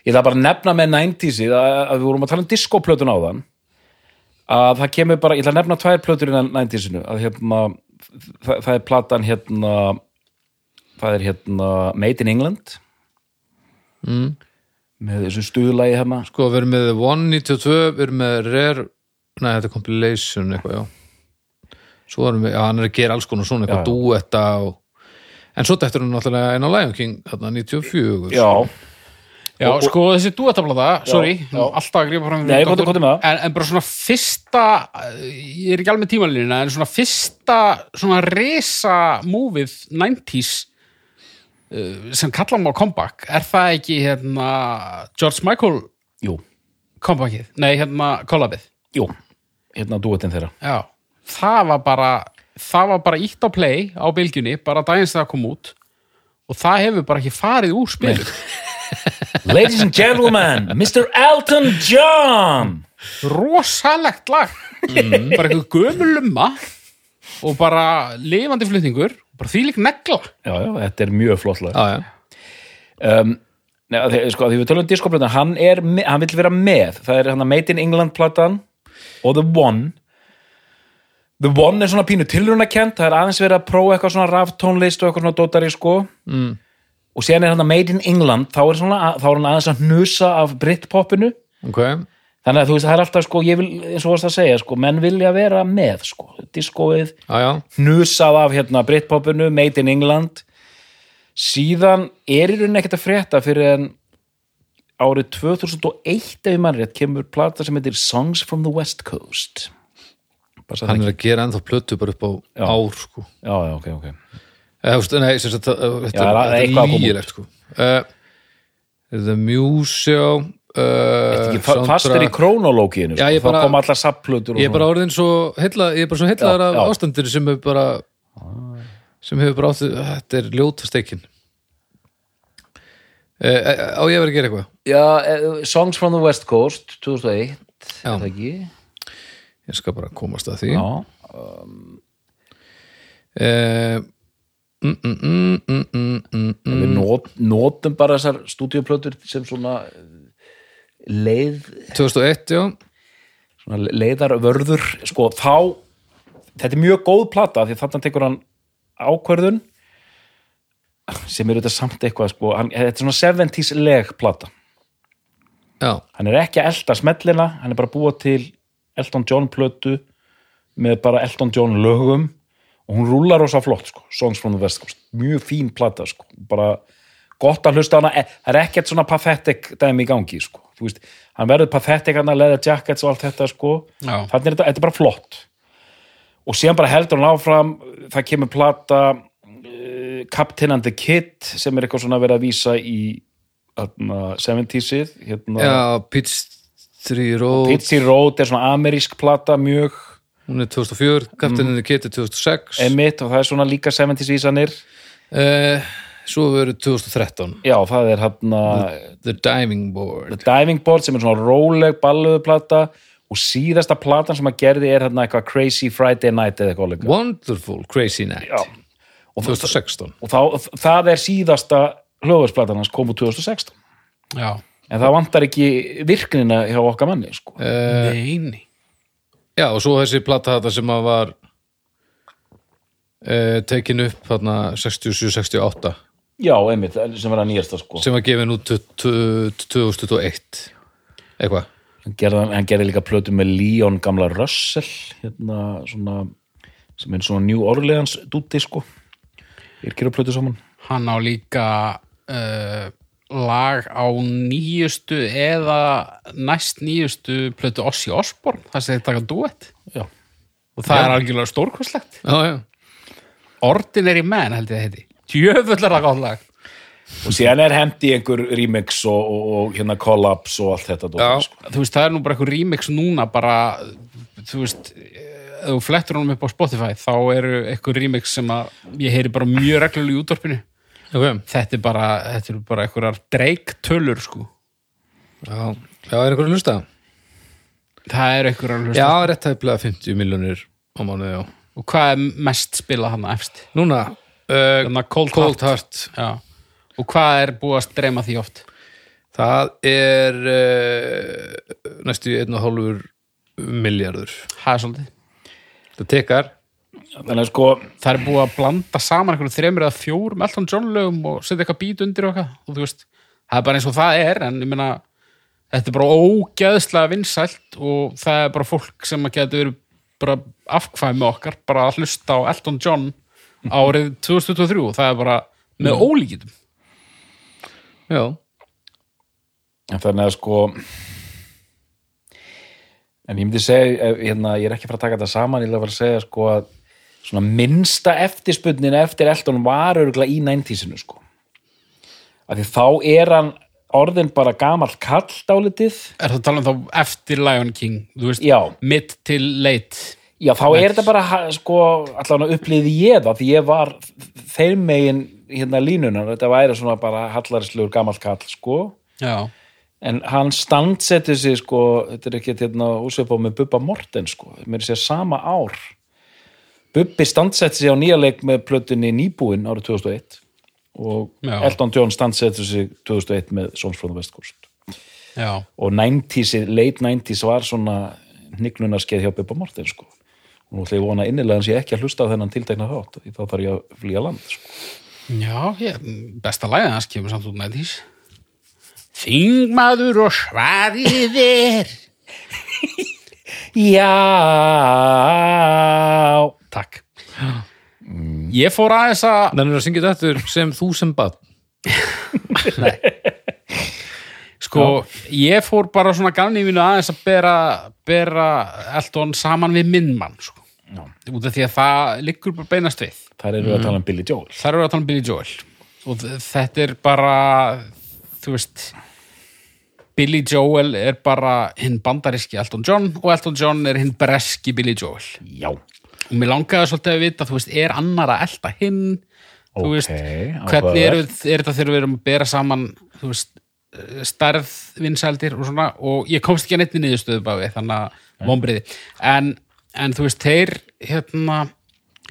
Speaker 5: ég ætla bara að nefna með 90sið að, að við vorum að tala um diskoplötun á þann að það kemur bara, ég ætla að nefna tvær plötur innan 90sinu að hérna, það, það er platan hérna það er hérna Made in England mm. með þessu stuðlagi hérna
Speaker 4: Sko, við erum með The One 92, við erum með Rare, nei, þetta er compilation eitthvað, já. Svo erum við, já, hann er að gera alls konar svona, eitthvað
Speaker 5: Já.
Speaker 4: duetta og, en svo dættur hann náttúrulega einn á Lion King, þarna 94.
Speaker 5: já,
Speaker 6: Já,
Speaker 5: Og- og-
Speaker 6: sko, þessi duettablata, sorry,
Speaker 5: já.
Speaker 6: alltaf að grípa fram
Speaker 5: Nei,
Speaker 6: doktor.
Speaker 5: komdu- komdu með það.
Speaker 6: en, en bara svona fyrsta, eh, ég er ekki alveg með tímalínina, en svona fyrsta svona resa múfið 90s eh, sem kalla má comeback, er það ekki hérna George Michael
Speaker 5: jú,
Speaker 6: comebackið? Nei, hérna kollabið.
Speaker 5: jú hérna duettinn þeirra
Speaker 6: Já, það var bara, það var bara ítt á play á bylgjunni, bara dagins þegar það kom út og það hefur bara ekki farið úr spilum.
Speaker 5: Ladies and gentlemen, Mr. Elton John
Speaker 6: rosalegt lag bara eitthvað gömul lumma og bara lifandi flutningur bara þvílík negla
Speaker 5: já, já, þetta er mjög flott lag
Speaker 4: Já, já.
Speaker 5: um, Nei, að því, sko, að því við tölum um diskoplatan hann, er me- hann vill vera með það er hann að Made in England platan og The One The One er svona pínu tilrunakent það er aðeins verið að prófa eitthvað svona raftónlist og eitthvað svona dótari sko mm. og síðan er hann að Made in England þá er, svona, þá er hann aðeins að hnusa af Britpopinu
Speaker 4: Ok,
Speaker 5: þannig að þú veist það er alltaf sko ég vil, eins og varst að segja sko menn vilja vera með sko diskoið
Speaker 4: já, já.
Speaker 5: hnusað af hérna Britpopinu, Made in England síðan er í rauninni ekkert að frétta fyrir en árið 2001 ef ég mann rétt kemur plata sem heitir Songs from the West Coast Bara sagði
Speaker 4: hann
Speaker 5: það
Speaker 4: er að gera ennþá plötu bara upp á
Speaker 5: Já.
Speaker 4: ár sko.
Speaker 5: Já, já, ok,
Speaker 4: Eh,
Speaker 5: ok.
Speaker 4: Eða, þú veist, nei, sem sagt, það- þetta,
Speaker 5: Já, það er
Speaker 4: þetta
Speaker 5: eitthvað að
Speaker 4: er
Speaker 5: koma
Speaker 4: lýgilegt sko. uh, The Museum uh,
Speaker 5: Ekki, fa- fastur í
Speaker 4: soundtrack-
Speaker 5: krónológinu,
Speaker 4: Já,
Speaker 5: sko.
Speaker 4: ég bara-
Speaker 5: þá kom allar sapplötur og
Speaker 4: Ég er bara orðin svo heilla, ég er bara svo heillaðar
Speaker 5: Já,
Speaker 4: af
Speaker 5: já.
Speaker 4: ástandinu sem hefur bara sem hefur bara áttu þetta er ljóta steikin uh, á ég að vera að gera eitthvað
Speaker 5: Já, eh, Songs from the West Coast, 2001,
Speaker 4: Já.
Speaker 5: er það ekki?
Speaker 4: ég skal bara komast að því
Speaker 5: Já.
Speaker 4: uh,
Speaker 5: Mm. Við not, notum bara þessar stúdíoplötur sem svona eh, leið
Speaker 4: 2001, já
Speaker 5: svona leiðarvörður sko þá, þetta er mjög góð plata því þannig tekur hann ákvörðun sem er auðvitað samt eitthvað sko, hann, þetta er svona 70s leg plata,
Speaker 4: já,
Speaker 5: hann er ekki að elda smellina, hann er bara að búa til Elton John plötu með bara Elton John lögum og hún rúlar rosa flott sko, Songs from the West Coast mjög fín plata sko, bara gott að hlusta á hana, E- það er ekkert svona pathetic dæmi í gangi sko, þú veist hann verður pathetic hann að leða jackets og allt þetta sko,
Speaker 6: Já.
Speaker 5: þannig er þetta, þetta er bara flott og síðan bara heldur hann áfram það kemur plata eh, Captain and the Kid sem er eitthvað svona verið að vísa í hérna, 70s-ið hérna,
Speaker 4: já Pitstri Road
Speaker 5: Pitsy Road er svona amerísk plata mjög
Speaker 4: hún er 2004, Captain
Speaker 5: Mm.
Speaker 4: in the Kid er 2006
Speaker 5: emitt og það er svona líka 70s-vísanir
Speaker 4: uh, svo verður 2013
Speaker 5: já, það er hérna
Speaker 4: The Diving
Speaker 5: The
Speaker 4: Board
Speaker 5: Diving Board sem er svona róleg balluðuplata og síðasta platan sem að gerði er hérna eitthvað Crazy Friday Night eða eitthvað líka
Speaker 4: Wonderful Crazy Night
Speaker 5: Já.
Speaker 4: 2016
Speaker 5: og þá, það er síðasta hlöfusplatan hans kom úr 2016
Speaker 6: já,
Speaker 5: en það vantar ekki virknina hjá okkar manni sko.
Speaker 6: neini
Speaker 4: Já, og svo þessi plata þetta sem að var e, tekin upp þarna 67-68
Speaker 5: já, einmitt, sem var að nýjasta sko.
Speaker 4: sem var gefin út 2021 eitthvað
Speaker 5: hann, gerði, hann gerði líka plötu með Leon gamla Russell hérna, svona, sem er svona New Orleans dúti sko. ég gerði plötu saman
Speaker 6: hann á líka uh, lag á nýjustu eða næst nýjustu plötu Ossi Osborn, það sem þeir taka duett
Speaker 5: já,
Speaker 6: og það er algjörlega stórkostlegt
Speaker 4: Já, já,
Speaker 6: Ordinary Man held ég það heiti Tjöfullar að gáð lag
Speaker 5: og síðan er hendi einhver remix og, og, og hérna collabs og allt þetta dót,
Speaker 4: Já.
Speaker 5: sko.
Speaker 6: Þú veist, það er nú bara eitthvað remix núna bara, þú veist ef þú flettur honum upp á Spotify þá eru eitthvað remix sem að ég heyri bara mjög reglulega í útvarpinu
Speaker 4: ok
Speaker 6: þetta er bara, þetta eru bara eitthvað dreiktölur sko
Speaker 4: Já, já er einhverjum hlusta?
Speaker 6: það er eitthvað
Speaker 4: Já, rétt hæflega 50 miljonir á mánuði, já
Speaker 6: og hvað er mest spilað hann efst
Speaker 4: Núna, uh,
Speaker 6: Þarna Cold
Speaker 4: Cold Heart
Speaker 6: Já. og hvað er búið að streyma því oft
Speaker 4: það er uh, næstu 1,5 miljardur
Speaker 6: það er svolítið
Speaker 4: Það tekar
Speaker 5: þannig að sko
Speaker 6: það er búið að blanda saman einhverjum þremur eða fjórum Elton John lögum og setja eitthvað bít undir og eitthvað og þú veist, það er bara eins og það er en ég meina, þetta er bara ógeðslega vinsælt og það er bara fólk sem að geta verið bara afkvæmi okkar, bara að hlusta á Elton John árið 2023 og það er bara með ólíkitum
Speaker 4: Já,
Speaker 5: En þannig að sko en ég myndi segja ef- hérna, ég er ekki að fara að taka þetta saman ég er að fara að segja sko að svona minnsta eftirspunnin eftir Elton var örgulega í 90-sinu sko af því þá er hann orðin bara gamall kall dálitið
Speaker 6: er það talað um þá eftir Lion King þú veist,
Speaker 5: Já.
Speaker 6: mitt til late
Speaker 5: já þá er þetta bara ha- sko allan að upplýði ég það því ég var þeim megin hérna línunar þetta væri svona bara hallarislegur gamall kall sko
Speaker 6: já,
Speaker 5: En hann standsetur sig sko, þetta er ekki hérna úsveipá með Bubba Morten sko, mér sé sama ár. Bubbi standsetur sig á nýja leik með plötunni Nýbúinn árið 2001 og
Speaker 6: Já.
Speaker 5: Elton John standsetur sig 2001 með Sons from the West Coast.
Speaker 6: já
Speaker 5: Og 90s, -ið, late 90s var svona hnygnunaskeið hjá Bubba Morten sko. Og nú ætla ég vona innilega hans ég ekki að hlusta á þennan tiltekna þátt, því þá þarf ég að flýja land sko.
Speaker 6: Já, ég, besta lagið hans kemur samt út nættís. Þingmaður og svarið er.
Speaker 5: Já,
Speaker 6: Takk. Ég fór aðeins að,
Speaker 4: þannig að syngja þetta aftur sem þú sem bad
Speaker 6: Sko, ég fór bara svona ganni mínu aðeins að bera, bera Elton saman við minn mann, sko. Já. Út af því að það liggur bara beinast við.
Speaker 5: Þar eru að tala um Billy Joel.
Speaker 6: Þar eru að tala um Billy Joel. Og þ- þetta er bara, þú veist, Billy Joel er bara hinn bandaríski Elton John og Elton John er hinn breski Billy Joel.
Speaker 5: Já.
Speaker 6: Og mér langaði svolítið að vita, þú veist, er annar að elta hinn? Þú
Speaker 5: Ókei,
Speaker 6: veist, hvernig er,
Speaker 5: áhugavert.
Speaker 6: er þetta þegar við erum að bera saman, þú veist, starð vinsældir og svona og ég komst ekki að neittni niðurstöðu bara við, þannig að vombriði. En, en þú veist, þeir, hérna, eh,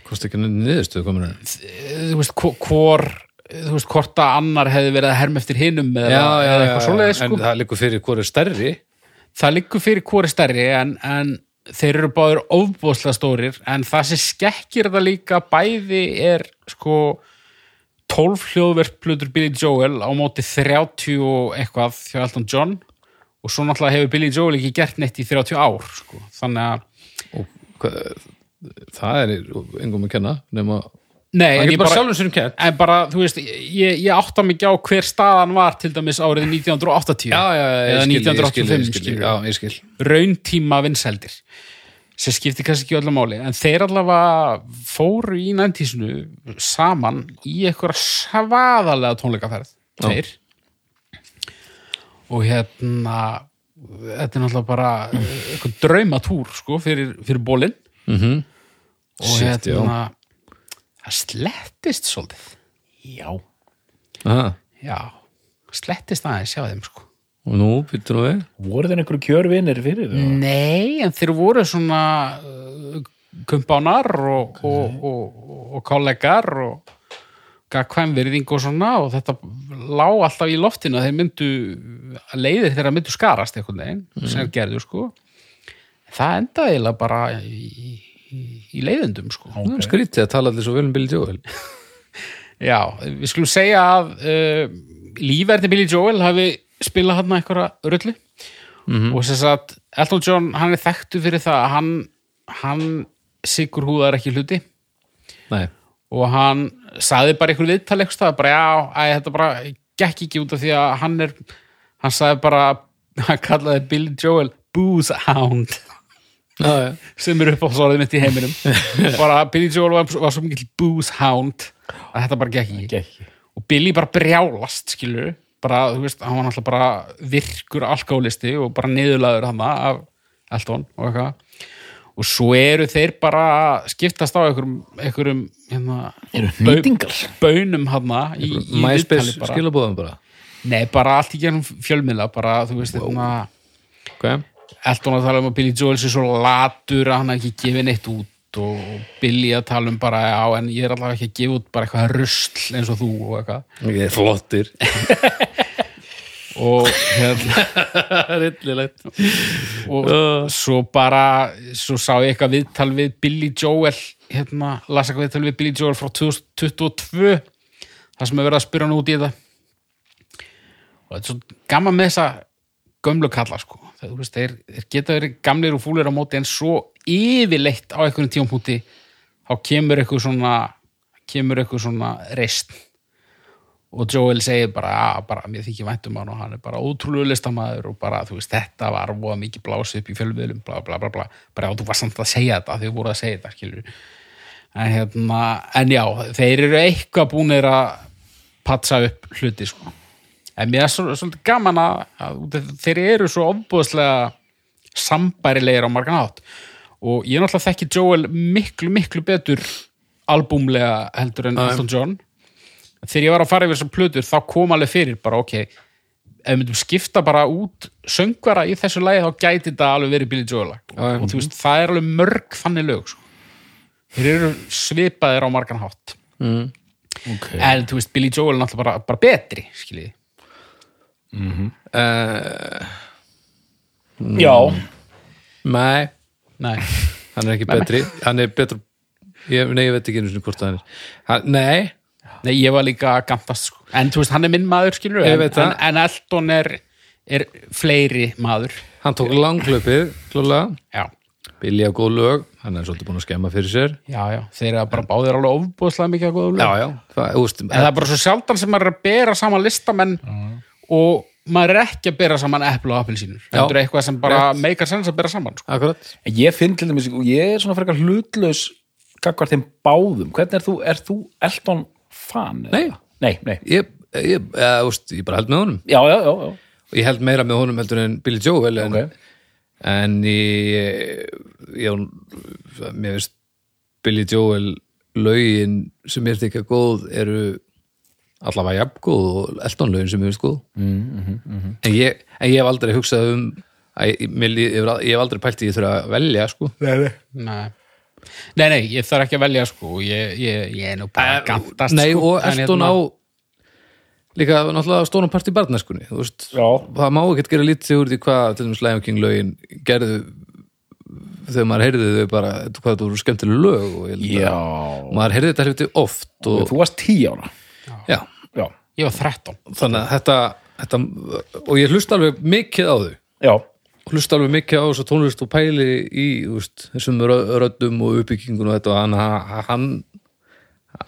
Speaker 4: Kosti ekki niðurstöðu komin henni.
Speaker 6: þú veist, hvo- hvor, eh, þú veist, hvort að annar hefði verið að herma eftir hinum eða, eða eitthvað svoleiðið, sko.
Speaker 4: En það liggur fyrir hvor er stærri.
Speaker 6: það liggur fyrir hvori stærri en, en þeir eru báður ofbóðslega stórir en það sem skekkir það líka bæði er sko 12 hljóðverkplutur Billy Joel á móti 30 og eitthvað hjá Elton John og svo náttúrulega hefur Billy Joel ekki gert neitt í 30 ár sko. þannig að
Speaker 4: Hvað, það er engum að kenna, nema...
Speaker 6: Nei,
Speaker 4: Það
Speaker 6: en
Speaker 4: er
Speaker 6: ég
Speaker 4: bara sjálfum sér um kennt.
Speaker 6: en bara, þú veist, ég, ég átta mig ekki á hver staðan var til dæmis árið 1980 eða 1985 skilur.
Speaker 4: Já, ég skil.
Speaker 6: rauntíma vinsældir sem skipti kannski ekki öllu máli en þeir allavega fóru í næntísinu saman í eitthvað svaðalega tónleikaferð þeir og hérna þetta er náttúrulega bara eitthvað draumatúr sko fyrir, fyrir bólinn -hmm. og
Speaker 4: Shit,
Speaker 6: hérna það slettist svolítið
Speaker 5: Já.
Speaker 4: Aha.
Speaker 6: já, slettist aðeins hjá þeim sko
Speaker 4: Og nú, býttu nú við.
Speaker 5: Voru þeir einhverju kjörvinir fyrir
Speaker 6: Mm.
Speaker 5: þau?
Speaker 6: Nei, en þeir voru svona uh, kumpánar og, og, og, og kollegar og gagkvæm virðing og svona og þetta lá alltaf í loftinu að þeir myndu að leiðir þeirra myndu skarast einhvern veginn, sem gerðu sko það endaði eiginlega bara í, í, í leiðundum sko
Speaker 4: Okay. Skrítið að tala allir svo vel um Billy Joel.
Speaker 6: Já, við skulum segja að uh, lífverði Billy Joel hafi spilað hann einhverja rullu og sem sagt Elton John, hann er þekktu fyrir það að hann, hann sigur húðar ekki hluti
Speaker 4: Nei.
Speaker 6: og hann sagði bara einhver viðtal eitthvað, staðar, bara já, æ, þetta bara gekk ekki út af því að hann er hann sagði bara, hann kallaði Billy Joel Booze Hound
Speaker 4: Já, já.
Speaker 6: sem er upp á svarðið mitt í heiminum bara Billy Joel var, var svo mikill Booze Hound að þetta bara gekk ekki
Speaker 5: Gekki.
Speaker 6: og Billy bara brjálast skilur bara, þú veist, hann var náttúrulega bara virkur alkoholisti og bara niðurlaður hann af Elton og eitthvað og svo eru þeir bara að skiptast á einhverjum, einhverjum hérna,
Speaker 5: Eru hnýtingar?
Speaker 6: bönum hann í, í
Speaker 4: MySpace
Speaker 6: viðtali bara.
Speaker 4: skilabóðum bara.
Speaker 6: nei, bara allt í gerum fjölmiðla bara, þú veist, hérna
Speaker 4: Ok.
Speaker 6: Elton að tala um að Billy Joel sé svo latur að hann hafi ekki gefið neitt út og Billy að tala um bara já, en ég er allavega ekki að gefa út bara eitthvað rusl eins og þú og eitthvað
Speaker 4: Ég er flottir.
Speaker 6: og hérna
Speaker 4: Rillilegt.
Speaker 6: og svo bara svo sá ég eitthvað viðtal við Billy Joel hérna, las eitthvað viðtal við Billy Joel frá 2022 það sem er verið að spyrja hann út í þetta og þetta er svo gaman með þessa gömlu kalla sko það, þú veist, þeir, þeir geta verið gamlir og fúlir á móti en svo yfirleitt á einhvern tímpúti þá kemur eitthvað svona kemur eitthvað svona reist og Joel segir bara, að, bara mér þykir vænt um hann og hann er bara ótrúlega listamaður og bara, þú veist, þetta var voða mikið blásið upp í fjölmiðlum, bla bla bla bla bara já, þú var samt að segja þetta, þau voru að segja þetta skilur, en hérna en já, þeir eru eitthvað búnir að patsa upp hluti sko, en mér er svo- svolítið gaman að, að út af- þeir eru svo ofbúðslega sambærilegir á margan átt og ég náttúrulega þekki Joel miklu, miklu betur albúmlega heldur en Elton John þegar ég var að fara yfir þessar plötur þá kom alveg fyrir bara ok ef við myndum skipta bara út söngvara í þessu lagi þá gæti þetta alveg verið Billy Joel lag og þú veist það er alveg mörg þannig lög sko. þeir eru svipaðir á margan hátt
Speaker 4: Mm.
Speaker 5: Ok.
Speaker 6: en þú veist Billy Joel er náttúrulega bara, bara betri skiljiði
Speaker 5: Já.
Speaker 4: Nei,
Speaker 6: Nei,
Speaker 4: hann er ekki betri. Hann er betur... Ég, nei, ég veit ekki einu sinni hvort það er. Hann, nei,
Speaker 6: Nei, ég var líka að gantast sko. en þú veist hann er minn maður skilur
Speaker 4: Ég
Speaker 6: en,
Speaker 4: veit
Speaker 6: en,
Speaker 4: það.
Speaker 6: en Elton er, er fleiri maður
Speaker 4: hann tók langlaupið, klólega.
Speaker 6: já,
Speaker 4: Billy á góð lög, hann er svolítið búin að skemma fyrir sér.
Speaker 6: já, já, þeir eru bara báðir alveg ofbúðslega mikið að góða lög
Speaker 4: já. Það, úst,
Speaker 6: en það er bara svo sjaldan sem maður er að bera saman listamenn og maður er ekki að bera saman eplu og appelsínur þetta er eitthvað sem bara meikar sens að bera saman sko.
Speaker 4: Akkurat.
Speaker 5: En Ég finn til dæmis, og ég er svona frekar hlutlaus gagvar þeim báðum. Hvernig er þú, er þú Elton fan? eða?
Speaker 4: Nei.
Speaker 5: Nei, nei.
Speaker 4: Ég, ég, eða, úst, ég bara held með honum.
Speaker 5: Já, já, já, já.
Speaker 4: Og ég held meira með honum heldur en Billy Joel. En,
Speaker 5: Ok.
Speaker 4: en ég, ég, mér veist Billy Joel lögin sem mér þykja góð eru allavega jafn góð og Elton lögin sem mér veist góð. Mm, mm, mm, en, ég, en ég hef aldrei hugsað um að ég, mér líð- ég, hef- ég hef aldrei pælt í því að ég þurfa að velja, sko.
Speaker 6: nei. nei, nei, ég þarf ekki að velja sko, ég, ég, ég er nú bara að gantast
Speaker 4: Nei,
Speaker 6: sko.
Speaker 4: og
Speaker 6: En
Speaker 4: Elton á
Speaker 6: hérna-
Speaker 4: líka náttúrulega stónum part í barnaskunni þú veist,
Speaker 5: Já.
Speaker 4: það má ekkert gera lítið úr því hvað til dæmis Lion King lögin gerðu þegar maður heyrði þau bara hvað þetta voru skemmtileg lög og ég held að maður heyrði þetta hluti oft og,
Speaker 5: Þú varst tí ára.
Speaker 4: já,
Speaker 5: Já,
Speaker 6: ég var 13
Speaker 4: þannig að þetta, þetta og ég hlusta alveg mikið á þau
Speaker 5: já.
Speaker 4: hlusta alveg mikið á þessu tónlist og pæli í þú veist, þessum rö- röddum og uppbyggingun og þetta og hann, hann,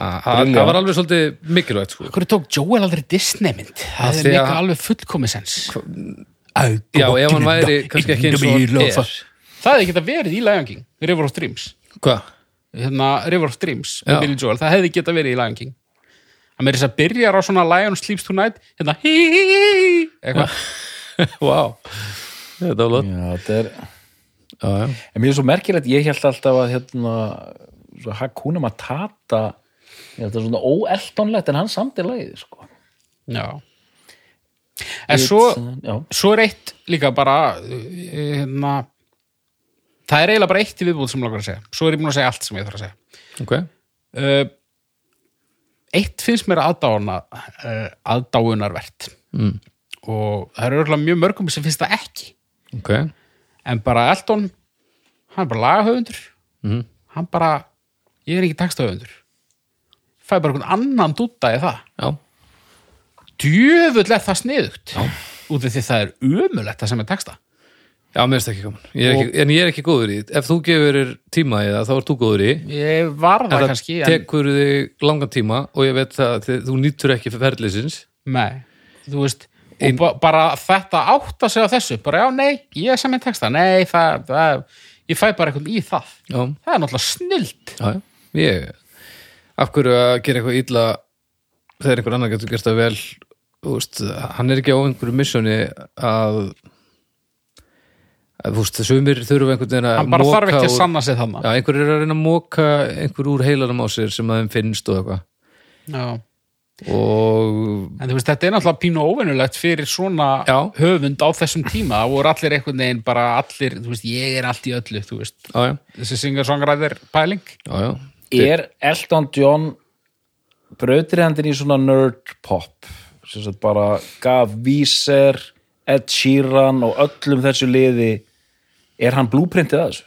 Speaker 4: hann það var alveg svolítið mikilvægt sko.
Speaker 6: Hverju tók Joel aldrei Disney mynd?
Speaker 4: Af
Speaker 6: Það er
Speaker 4: því
Speaker 6: líka
Speaker 4: að-
Speaker 6: alveg fullkomisens.
Speaker 4: Já, ef hann væri kannski ekki eins og hann er
Speaker 6: Það hefði geta verið í Lion King, River of Dreams.
Speaker 4: Hvað?
Speaker 6: Hérna, River of Dreams,
Speaker 4: Já.
Speaker 6: með Billy Joel. Það hefði geta verið í Lion King. Það með þess að byrjar á svona Lion Sleeps Tonight, hérna, hí, hí, hí, hí, eitthvað.
Speaker 4: Vá Þetta var lott
Speaker 5: Já, þetta er...
Speaker 4: Já, já.
Speaker 5: En mér er svo merkilegt, ég held alltaf að hérna, svo Hakuna Matata, ég held að svona óeltonlegt, en hann samt er lagið, sko.
Speaker 6: Já. En svo,
Speaker 5: Já,
Speaker 6: svo er eitt líka bara, eh, hérna, það er eiginlega bara eitt í viðbúð sem ég langar að segja. Svo er ég búin að segja allt sem ég þarf að segja.
Speaker 4: Ok
Speaker 6: uh, eitt finnst mér aðdáuna uh, aðdáunarvert mm. og það eru örugglega mjög mörgum sem finnst það ekki
Speaker 4: Ok
Speaker 6: en bara Elton, hann er bara lagahöfundur mm. hann bara ég er ekki textahöfundur fæ bara einhvern annan dúta í það
Speaker 4: Já
Speaker 6: djöfull er það sniðugt út af því það er umulegt það sem er texta
Speaker 4: Já, mér finnst ekki gaman Ég er ekki, En ég er ekki góður í því. Ef þú gefur þér tíma í það, þá ert þú góður í því.
Speaker 6: ég var það,
Speaker 4: En
Speaker 6: kannski en,
Speaker 4: tekur þig langan tíma og ég veit það að þið- þú nýttur ekki ferðlisins
Speaker 6: nei, þú veist og ba bara þetta átt að segja þessu bara já, nei, ég sem er texta nei, það, það, ég fæ bara einhvern í það
Speaker 4: Já,
Speaker 6: það er náttúrulega snilt
Speaker 4: já, já Ég Af hverju að gera eitthvað illa þegar einhver annar getur gert það vel Þú veist, hann er ekki á einhverju missjóni að að, Þú veist, sumir þurfa einhvern veginn að
Speaker 6: hann bara þarf
Speaker 4: moka
Speaker 6: ekki að
Speaker 4: úr-
Speaker 6: sanna sig þannig
Speaker 4: Já, einhver er að reyna að móka einhver úr heilanum á sér sem að þeim finnst og eitthvað
Speaker 6: en
Speaker 4: og
Speaker 6: þú veist þetta er náttúrulega pínu óvinnulegt fyrir svona
Speaker 4: Já.
Speaker 6: höfund á þessum tíma það voru allir einhvern veginn bara allir þú veist ég er allt í öllu þú veist
Speaker 4: já, já,
Speaker 6: þessi singer-songræðir pæling
Speaker 4: já, já.
Speaker 5: er Elton John brautriðandinn í svona nerd pop sem sagt bara gaf Víser, Ed Sheeran og öllum þessu liði er hann blúprintið að þessu?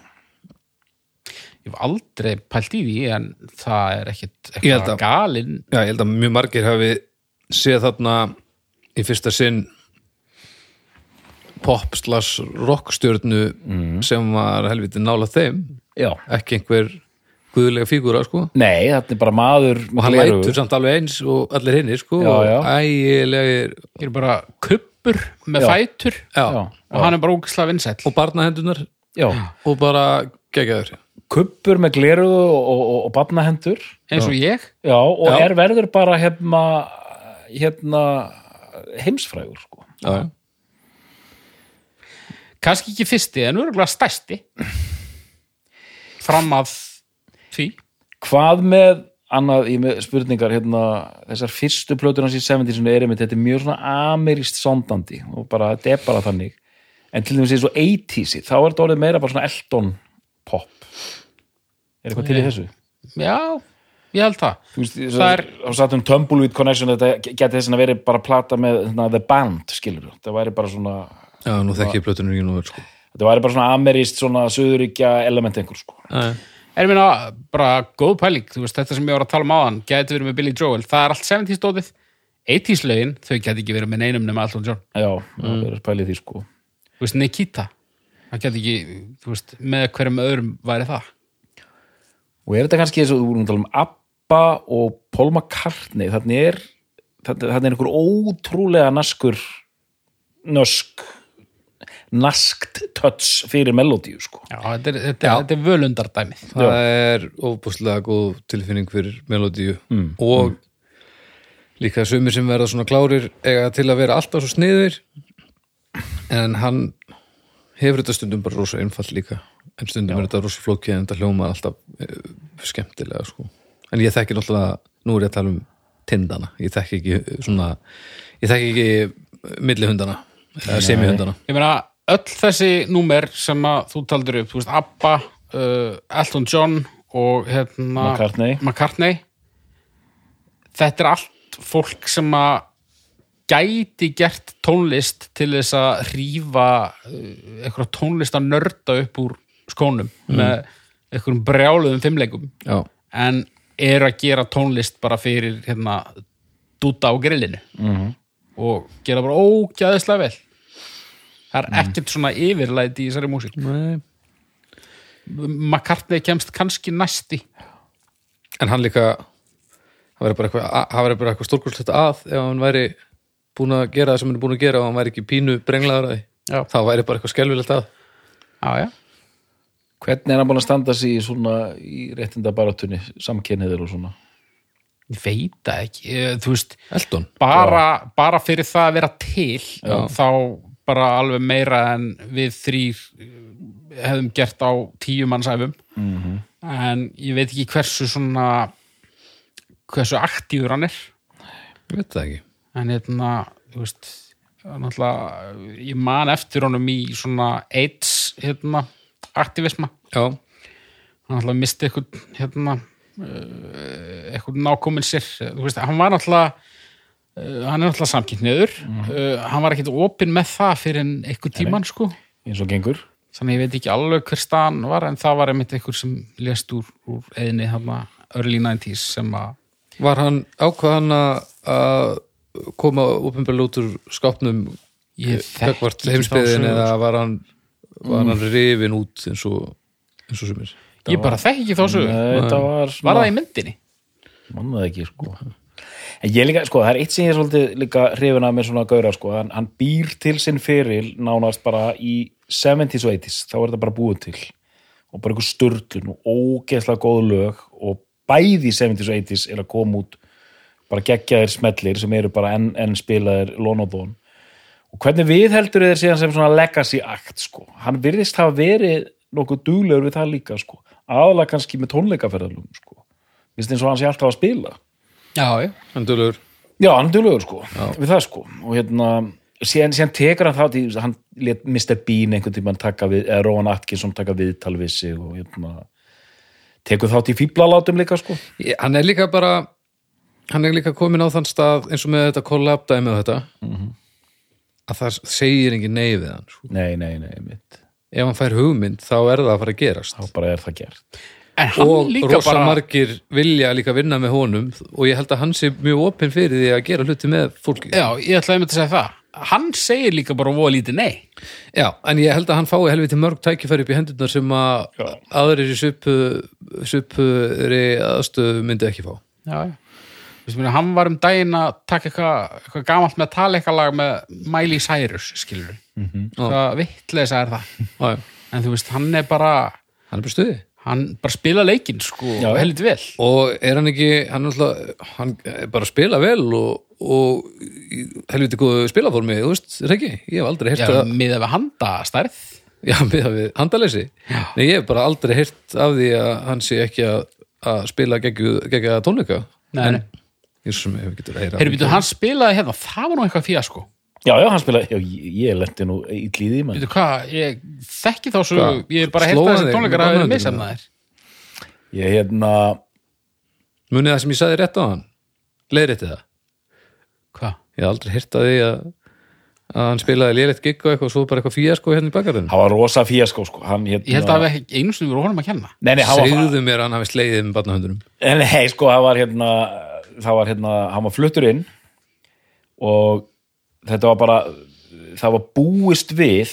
Speaker 6: ég hef aldrei pælt í því en það er ekkit
Speaker 4: Ég held
Speaker 6: eitthvað
Speaker 4: að-
Speaker 6: galinn
Speaker 4: já, ég held að mjög margir hafi séð þarna í fyrsta sinn pop slash rockstjörnu sem var helviti nála þeim
Speaker 5: Já.
Speaker 4: ekki einhver guðlega fígúra sko
Speaker 5: Nei, þetta er bara maður
Speaker 4: og hann
Speaker 5: gleraugu.
Speaker 4: lætur samt alveg eins og allir hinnir sko
Speaker 5: Já, já.
Speaker 4: og ægilegir
Speaker 6: ég er bara kuppur með
Speaker 5: Já.
Speaker 6: fætur
Speaker 4: já,
Speaker 5: Já.
Speaker 6: og hann er bara ógislega vinsæll
Speaker 4: og barnahendunar
Speaker 5: Já,
Speaker 4: og bara geggjæður
Speaker 5: kuppur með gleruðu og, og, og, og barnahendur
Speaker 6: eins og ég
Speaker 5: Já, og
Speaker 4: Já.
Speaker 5: er verður bara hefna, hefna heimsfrægur sko.
Speaker 4: já, já
Speaker 6: kannski ekki fyrsti en örgulega stæsti fram að því
Speaker 5: Hvað með annað í með spurningar hérna, þessar fyrstu plötur hans í 70 sem er einmitt, þetta er mjög svona ameríst sondandi og bara, þetta er bara þannig en til dæmis eins og 80s þá er þetta orðið meira bara svona Elton pop Er eitthvað til í þessu?
Speaker 6: Já, ég held það.
Speaker 5: Þú veist,
Speaker 6: Það
Speaker 5: það er
Speaker 6: er-
Speaker 5: og satt um Tumbleweed Connection þetta geti þess að verið bara plata með hérna, The Band, skilur þetta væri bara svona
Speaker 4: Já, nú þekki ég plötunum ekki nú vel, sko.
Speaker 5: þetta væri bara svona amerist, svona söðuríkja element einhver sko
Speaker 6: En ég meina, bara góð pæling, þú veist, þetta sem ég var að tala um áðan, gæti verið með Billy Joel, það er allt 70s dótið, 80s lögin, þau gæti ekki verið með neinum nema Elton John.
Speaker 5: já, það verður pælið því sko
Speaker 6: Þú veist, Nikita, það gæti ekki, þú veist, með hverjum öðrum væri það.
Speaker 5: og er þetta kannski eins og þú vorum að tala um Abba og Paul McCartney þannig er þannig er einhver ótrúlega naskur nösk naskt touch fyrir melodíu sko.
Speaker 6: Já, þetta er, þetta, er- þetta er völundardæmið.
Speaker 5: Já.
Speaker 4: það er ofbúslega góð tilfinning fyrir melodíu og líka sumir sem verða svona klárir eiga til að vera alltaf svo sniður en hann hefur þetta stundum bara rosa einfalt líka en stundum er þetta rosa flókið en þetta hljóma alltaf uh, skemmtilega sko. en ég þekki náttúrulega, nú er ég að tala um tindana, ég þekki ekki eh, svona, ég þekki ekki eh, millihundana, eða semihundana
Speaker 6: Ég meina, öll þessi númer sem að þú taldur upp, þú veist, Abba, uh, Elton John og hérna...
Speaker 5: McCartney.
Speaker 6: McCartney. Þetta er allt fólk sem að gæti gert tónlist til þess að rífa uh, eitthvað tónlist að nörda upp úr skónum með eitthvað brjáluðum fimmleikum
Speaker 4: Já,
Speaker 6: en eru að gera tónlist bara fyrir hérna dúta á grillinu -hmm. og gera bara ógæðislega vel það er ekkert svona yfirlæti í þessari músík
Speaker 4: nei
Speaker 6: McCartney kemst kannski næsti
Speaker 4: en hann líka það verður bara eitthvað, það verður bara eitthvað stórkurslegt að ef hann væri búin að gera það sem hann er búin að gera og hann væri ekki pínu brenglaður að
Speaker 6: Já.
Speaker 4: því þá væri bara eitthvað skelfilegt að
Speaker 6: ah, ja.
Speaker 5: hvernig er hann búin að standa sig í svona í réttinda baratunni, samkenniðir og svona
Speaker 6: ég veit það ekki, Eh, þú veist
Speaker 4: Eldon,
Speaker 6: bara, bara fyrir það að vera til þá bara alveg meira en við þrýr eh, hefðum gert á tíu mannsæfum mm -hmm. en ég veit ekki hversu svona hversu aktífur hann er
Speaker 4: ég veit það ekki
Speaker 6: en hérna, þú veist hann alltaf, ég man eftir honum í svona AIDS hérna, aktivisma
Speaker 4: Já,
Speaker 6: hann alltaf misti eitthvað hérna, eh, eitthvað nákominn sér þú veist, hann var alltaf hann er alltaf samkynniður
Speaker 5: Mhm.
Speaker 6: uh, hann var ekkit opinn með það fyrir en eitthvað tíman sko
Speaker 5: eins og gengur
Speaker 6: þannig ég veit ekki alveg hver staðan var en það var einmitt eitthvað sem lést úr, úr eðinni þarna early 90s sem að
Speaker 4: var hann ákvað hann að- að koma opinbjörlega út úr skápnum
Speaker 6: ég
Speaker 4: kakvart
Speaker 6: ekki þá
Speaker 4: heimsbyðin
Speaker 6: sögu,
Speaker 4: eða var hann, var hann rifin út eins og, eins og sumir
Speaker 6: sko. ég bara þekki ekki þá sögu
Speaker 5: Nei, þetta var
Speaker 6: var það
Speaker 5: svona-
Speaker 6: í myndinni?
Speaker 5: manna það ekki sko en ég líka, sko, það er eitt sem ég er svolítið líka hrifin af með svona gauðra, sko, hann, hann býr til sinn feril nánast bara í 70s og 80s, þá er þetta bara búið til og bara einhver sturlun og ógeðslega góð lög og bæði í 70s og 80s er að koma út bara geggjaðir smetlir sem eru bara enn en spilaðir lonobón og hvernig við heldur þeir síðan sem svona legacy act sko, hann virðist hafa verið nokkuð duglegur við það líka sko aðalega kannski með tónleikaferðalum sko Vist eins og hann sé alltaf að spila
Speaker 6: já, já,
Speaker 4: hann dölur,
Speaker 5: Já, hann er duglegur sko, við það sko og hérna, síðan, síðan tekur hann það til- hann let Mr. Bean einhvern tímann taka við, eða Róan Atkinson taka viðtal við sig og hérna tekur þátt í fíblalátum líka sko
Speaker 4: Ég- hann er líka bara hann er líka komin á þann stað eins og með þetta collab dæmi og þetta
Speaker 6: Mhm.
Speaker 4: að það segir engin nei við hann sko.
Speaker 5: Nei, nei, nei, mitt,
Speaker 4: ef hann fær hugmynd þá er það að fara að gerast
Speaker 5: þá bara er það gert
Speaker 6: en hann
Speaker 4: og
Speaker 6: líka
Speaker 4: rosa
Speaker 6: bara
Speaker 4: margir vilja líka vinna með honum og ég held að hann sé mjög opinn fyrir því að gera hluti með fólki
Speaker 6: já, ég ætlaði einmitt að segja það hann segir líka bara voða lítið nei
Speaker 4: Já, en ég held að hann fái helviti mörg tækifæri upp í hendurnar sem að aðrir í svipu- svipuri aðstöðu myndi ekki fá
Speaker 6: já, já Vist, minna, hann var um daginn að taka eitthvað, eitthvað gamalt með talekalag með Miley Cyrus skilur mm -hmm. það vittlega er það
Speaker 4: Já, já.
Speaker 6: en þú veist, hann er bara
Speaker 4: Hann er bara í stuði
Speaker 6: hann bara spila leikinn sko
Speaker 5: Já, já.
Speaker 6: heldur vel
Speaker 4: og er hann ekki hann, alltaf, hann er bara að spila vel og, og í helviti góðu spilaformi, þú veist, er það ekki ég hef aldrei heyrt
Speaker 6: já,
Speaker 4: að,
Speaker 6: miða við handa stærð
Speaker 4: já, með að við handaleysi nei, ég hef bara aldrei heyrt af því að hann sé ekki að, að spila gegja tónleika
Speaker 6: Nei, nei.
Speaker 4: ég svo sem ég getur að heyra
Speaker 6: Heyrðu, býtu, hann spilaði hérna, það var nú eitthvað fíja sko
Speaker 5: Já, já, hann spilaði, já, ég, ég lenti nú í glíði, menn
Speaker 6: býtu, hvað, ég þekki þá svo
Speaker 4: Hvað?
Speaker 6: ég er bara að
Speaker 4: Slóa
Speaker 6: heyrta þessi
Speaker 4: þig
Speaker 6: tónleikar
Speaker 4: með
Speaker 6: að vera
Speaker 4: bannhöndinni?
Speaker 6: misemnaðir
Speaker 5: Ég hérna,
Speaker 4: munið það sem ég sagði rétt á hann leiðrétti það,
Speaker 6: hvað,
Speaker 4: ég hef aldrei heyrt að því að, að hann spilaði leiðrétt gig og eitthvað og svo bara eitthvað fíasko hérna í bakarinn
Speaker 5: hann var rosa fíaskó sko, hann hérna
Speaker 6: ég held að það ekki einu sinni voru honum að kenna
Speaker 5: Nei, nei, hann var,
Speaker 4: segðuðu mér að hann hafi slegið með barnahöndunum
Speaker 5: En hei, sko, það var hérna, það var hérna, hann var fluttur inn og þetta var bara, það var búist við,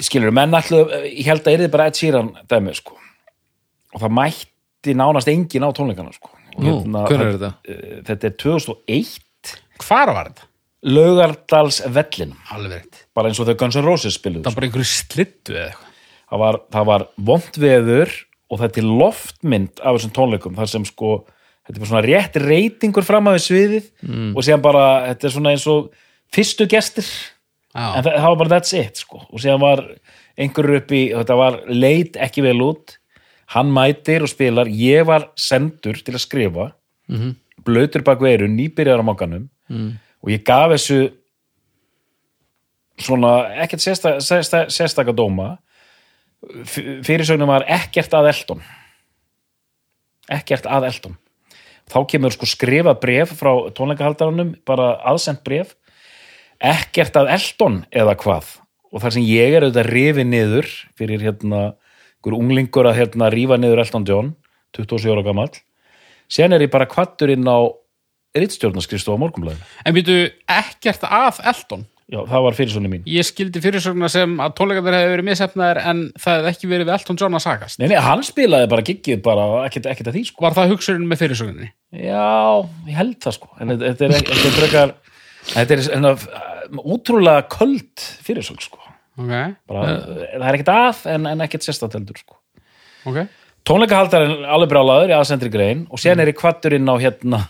Speaker 5: skilur, menn ætluðu, ég held að yrði bara Ed Sheeran dæmi, sko. Og það mætti nánast engin á tónleikana, sko. Og
Speaker 4: Nú, hvenær er þetta?
Speaker 5: eh, Þetta er 2001,
Speaker 6: hvar var þetta?
Speaker 5: Laugardalsvellinum
Speaker 6: alveg rétt.
Speaker 5: bara eins og þau Guns N' Roses
Speaker 6: Það
Speaker 5: spiluðu
Speaker 6: var bara einhverju slittu eða eitthvað.
Speaker 5: það var, það var vond veður og þetta er loftmynd af þessum tónleikum þar sem sko, þetta er bara svona rétt reytingur fram að við sviðið og síðan bara, þetta er svona eins og fyrstu gestir en
Speaker 6: Já,
Speaker 5: það, það var bara that's it sko. og síðan var einhverjur upp í þetta var leit ekki vel út hann mætir og spilar ég var sendur til að skrifa blöytur bak veiru, nýbyrjar á mokkanum og ég gaf þessu svona ekkert sérsta, sérsta, sérstaka dóma F- fyrirsögnum var ekkert að Elton ekkert að Elton þá kemur sko skrifa bref frá tónleikahaldaranum, bara aðsend bref ekkert að Elton eða hvað og þar sem ég er auðvitað rifið niður fyrir hérna einhver unglingur að hérna rífa niður Elton John 27 ára gamall sen er ég bara kvattur inn á rittstjórnarskrifstofa morgumlæðin
Speaker 6: en býtu ekkert af Elton.
Speaker 5: já, það var fyrirsögnin mín
Speaker 6: Ég skildi fyrirsögna sem að tónleikarnir hefði verið missefnaðir en það hefði ekki verið við Elton John að sagast.
Speaker 5: nei, nei, hann spilaði bara giggið bara ekkert, ekkert að því sko
Speaker 6: Var það hugsurinn með fyrirsögninni?
Speaker 5: já, ég held það sko en þetta- þetta er, ekki- þetta er frekar þetta er hérna, útrúlega köld fyrirsögn sko
Speaker 6: Ok,
Speaker 5: bara, það er ekkert að en, en ekkert sérstateldur sko
Speaker 6: ok.
Speaker 5: tónleikahaldarinn alveg brálaður í aðsendri grein og sen er ég kvattur inn á hérna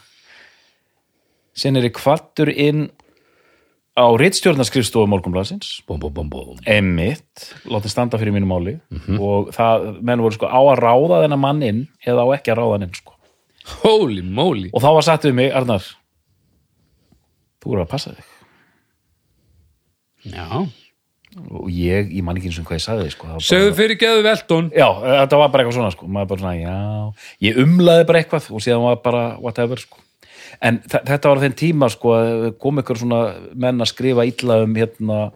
Speaker 5: sen er ég kvattur inn á rittstjórnarskrifstofu morgunblansins
Speaker 2: Bum, bum, bum, bum.
Speaker 5: emitt, látið standa fyrir mínu máli og það, menn voru sko á að ráða þennan mann inn eða á ekki að ráða hann inn sko.
Speaker 6: Holy moly.
Speaker 5: og þá var sagt við mig, Arnar þú eru að passa þig
Speaker 6: Já.
Speaker 5: og ég, ég man ekki eins og hvað ég sagði sko, það var bara-
Speaker 6: Segðu fyrir geðu Elton.
Speaker 5: Já, eh, þetta var bara eitthvað svona sko, maður bara svona, já, ég umlaði bara eitthvað og síðan var bara whatever sko. En þe- þetta var á þeim tíma sko að kom ykkur svona menn að skrifa illa um hérna,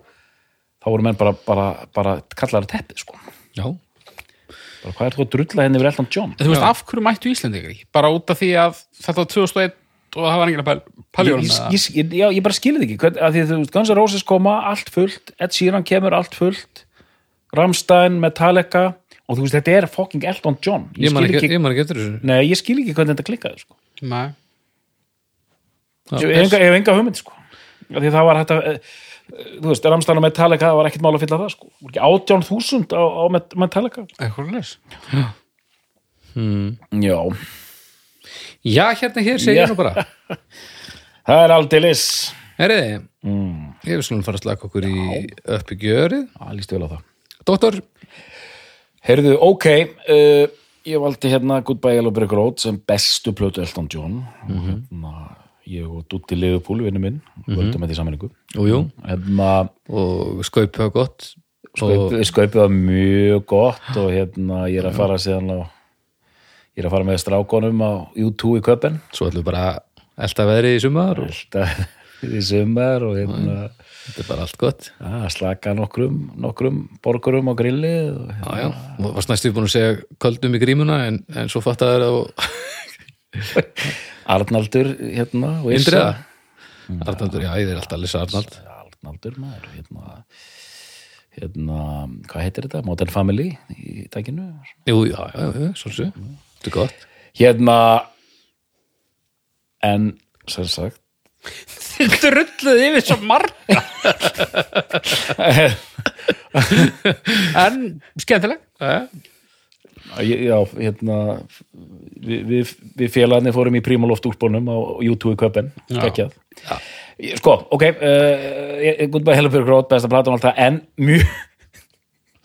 Speaker 5: þá voru menn bara, bara, bara kallar að teppið sko.
Speaker 6: Já.
Speaker 5: Bara hvað er þú að drulla henni yfir Elton John?
Speaker 6: En þú veist, af hverju mættu Íslandingar í? Bara út af því að þetta var 2001 og það var enginn að
Speaker 5: Ég,
Speaker 6: paljúra
Speaker 5: ég, ég, ég, já, ég bara skilði ekki, hvern, að því þú veist, Guns N' Roses koma allt fullt, Ed Sheeran kemur allt fullt, Rammstein, Metallica og þú veist, þetta er fucking Elton John.
Speaker 4: Ég man
Speaker 5: skil
Speaker 4: ekki, ég man ekki eftir þessu.
Speaker 5: Nei, ég skil ekki hvernig þetta klikkaði sko.
Speaker 6: Nei.
Speaker 5: Ég hef enga- ég hef enga hugmynd sko Af Því það var þetta eh, Þú veist, Ramstæna Metallica, það var ekkert mál að fylla það sko Voru ekki 18.000 á, á Met- Metallica
Speaker 6: Eitthvað leys.
Speaker 5: Já
Speaker 4: Já, hérna hér segir
Speaker 5: Já.
Speaker 4: ég nú bara.
Speaker 5: Það er aldeilis
Speaker 4: Herriði, ég við slunum fara að slaka okkur í uppbyggjörið.
Speaker 5: Það líst vel á það
Speaker 4: Dóttor,
Speaker 5: Heyrðu, ok uh, Ég valdi hérna Goodbye Yellow Brick Road sem bestu plötu Elton John og hérna, ég og Dutti Leifupúl vinnu minn, völdum þetta í sammenningu
Speaker 4: jú, jú,
Speaker 5: hérna,
Speaker 4: og skaupið var gott. Og,
Speaker 5: skaupið, skaupið var mjög gott og hérna, ég er að fara síðan á ég er að fara með strákonum á U2 í köpen
Speaker 4: svo ætlum við bara að elta veðrið í sumar og
Speaker 5: alltaf í sumar og hérna
Speaker 4: þetta er bara allt gott.
Speaker 5: að slaka nokkrum, nokkrum borgurum á grilli og hérna,
Speaker 4: Já, já, og varst næstu búin að segja köldum í grímuna en, en svo fatt að það er að
Speaker 5: Arnaldur hérna og Yrsa.
Speaker 4: indriða. Arnaldur, já, ég er alltaf að lesa Arnald.
Speaker 5: Arnaldur maður hérna, hérna, hvað heitir þetta? Modern Family í takinu
Speaker 4: Jú, já, já, já, já svolítið. Þetta er gott.
Speaker 5: hérna en sem sagt
Speaker 6: Þið drulluð yfir svo marga.
Speaker 5: hérna,
Speaker 6: en skemmtileg.
Speaker 5: Ég- Já, hérna við, við, við félagarnir fórum í Primaloft úlpunum á YouTube köpen, geggjað Ég- Sko, ok uh, Goodbye Helleberg Road, besta platan og allt það, en mjög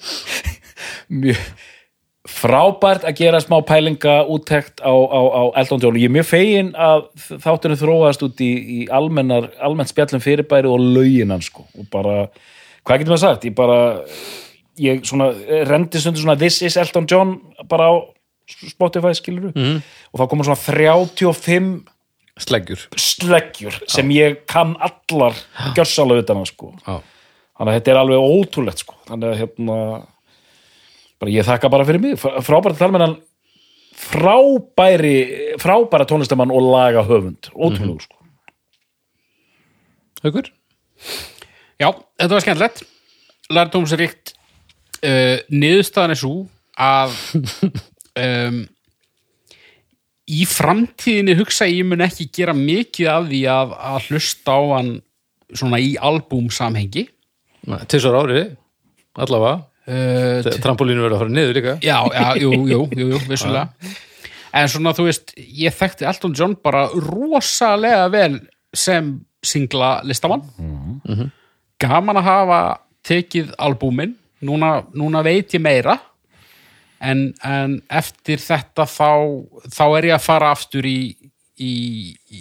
Speaker 5: mjög frábært að gera smá pælinga úttekt á, á, á Elton John ég er mjög fegin að þáttunni þróast út í, í almennar, almennt spjallum fyrirbæri og lauginan sko og bara, hvað getur maður sagt ég bara, ég svona rendi stundu svona This is Elton John bara á Spotify skiluru mm. og þá komur svona 35
Speaker 4: Sleggjur.
Speaker 5: sleggjur sem ég kann allar gjörsalega utan að sko
Speaker 4: Já.
Speaker 5: þannig að þetta er alveg ótrúlegt sko þannig að hérna bara ég þakka bara fyrir mig, Fr- frábært þarmennan frábæri frábæra tónlistamann og laga höfund ótrúlegu sko
Speaker 4: Haukur?
Speaker 6: Já, þetta var skemmtilegt. Lærdómsrikt. Uh, niðurstaðan er svo að um, í framtíðinni hugsa ég mun ekki gera mikið af því að, að hlusta á hann svona í albúm samhengi
Speaker 4: Tvisvar á ári, allavega
Speaker 6: uh,
Speaker 4: Trampolínu verður að fara niður líka
Speaker 6: já, já, jú, jú, jú, jú vissulega en svona þú veist, ég þekkti Elton John bara rosalega vel sem singla listamann gaman að hafa tekið albúmin núna, núna veit ég meira en, en eftir þetta þá, þá er ég að fara aftur í í, í, í,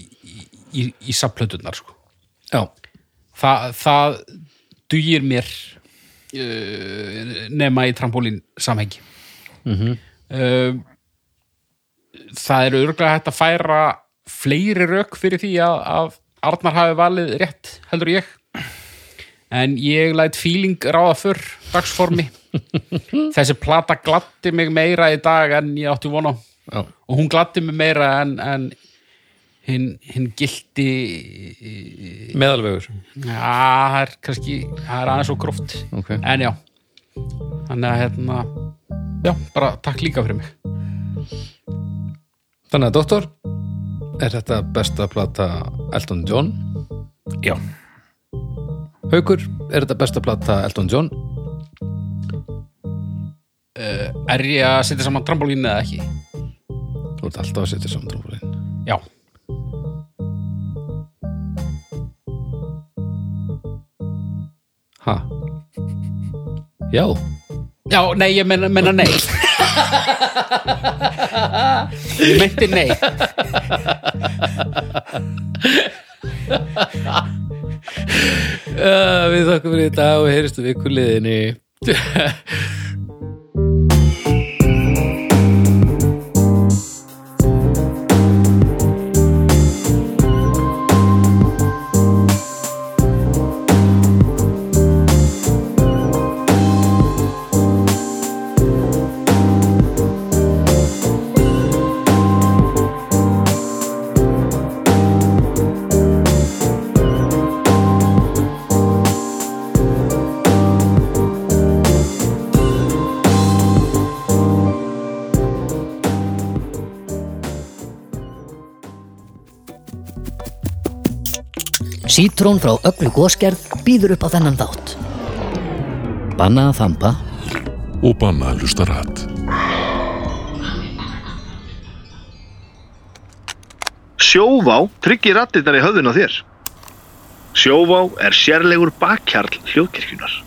Speaker 6: í, í sapplötunar sko.
Speaker 4: Já,
Speaker 6: Þa, það dugir mér uh, nema í trampolín samhengi -hmm. það eru örglega hægt að færa fleiri rauk fyrir því að, að Arnar hafi valið rétt heldur ég en ég læt feeling ráða fyrr dagsformi þessi plata glatti mig meira í dag en ég átti vona
Speaker 4: Já.
Speaker 6: og hún glatti mig meira en, en hinn, hinn gildi
Speaker 4: meðalvegur
Speaker 6: Já, það er kannski, það er aðeins og gróft
Speaker 4: Ok.
Speaker 6: En já Þannig að hérna Já, bara takk líka fyrir mig
Speaker 4: Þannig að doktor, er þetta besta plata Elton John?
Speaker 5: Já.
Speaker 4: Haukur, er þetta besta plata Elton John?
Speaker 6: Er ég að setja saman trampolínu eða ekki?
Speaker 4: Þú ert alltaf að setja saman trófulinn
Speaker 6: Já
Speaker 4: Ha? Já,
Speaker 6: Já, nei, ég menna, menna nei Ég meinti nei
Speaker 4: uh, við þakkum fyrir í dag og heyristu vikuliðinni
Speaker 2: Sítrón frá öllu góskerð býður upp á þennan þátt. Banna að þamba
Speaker 3: og banna að hlusta rætt.
Speaker 1: Sjóvá tryggir rattirnar í höfðun á þér. Sjóvá er sérlegur bakkjarl hljóðkirkjunar.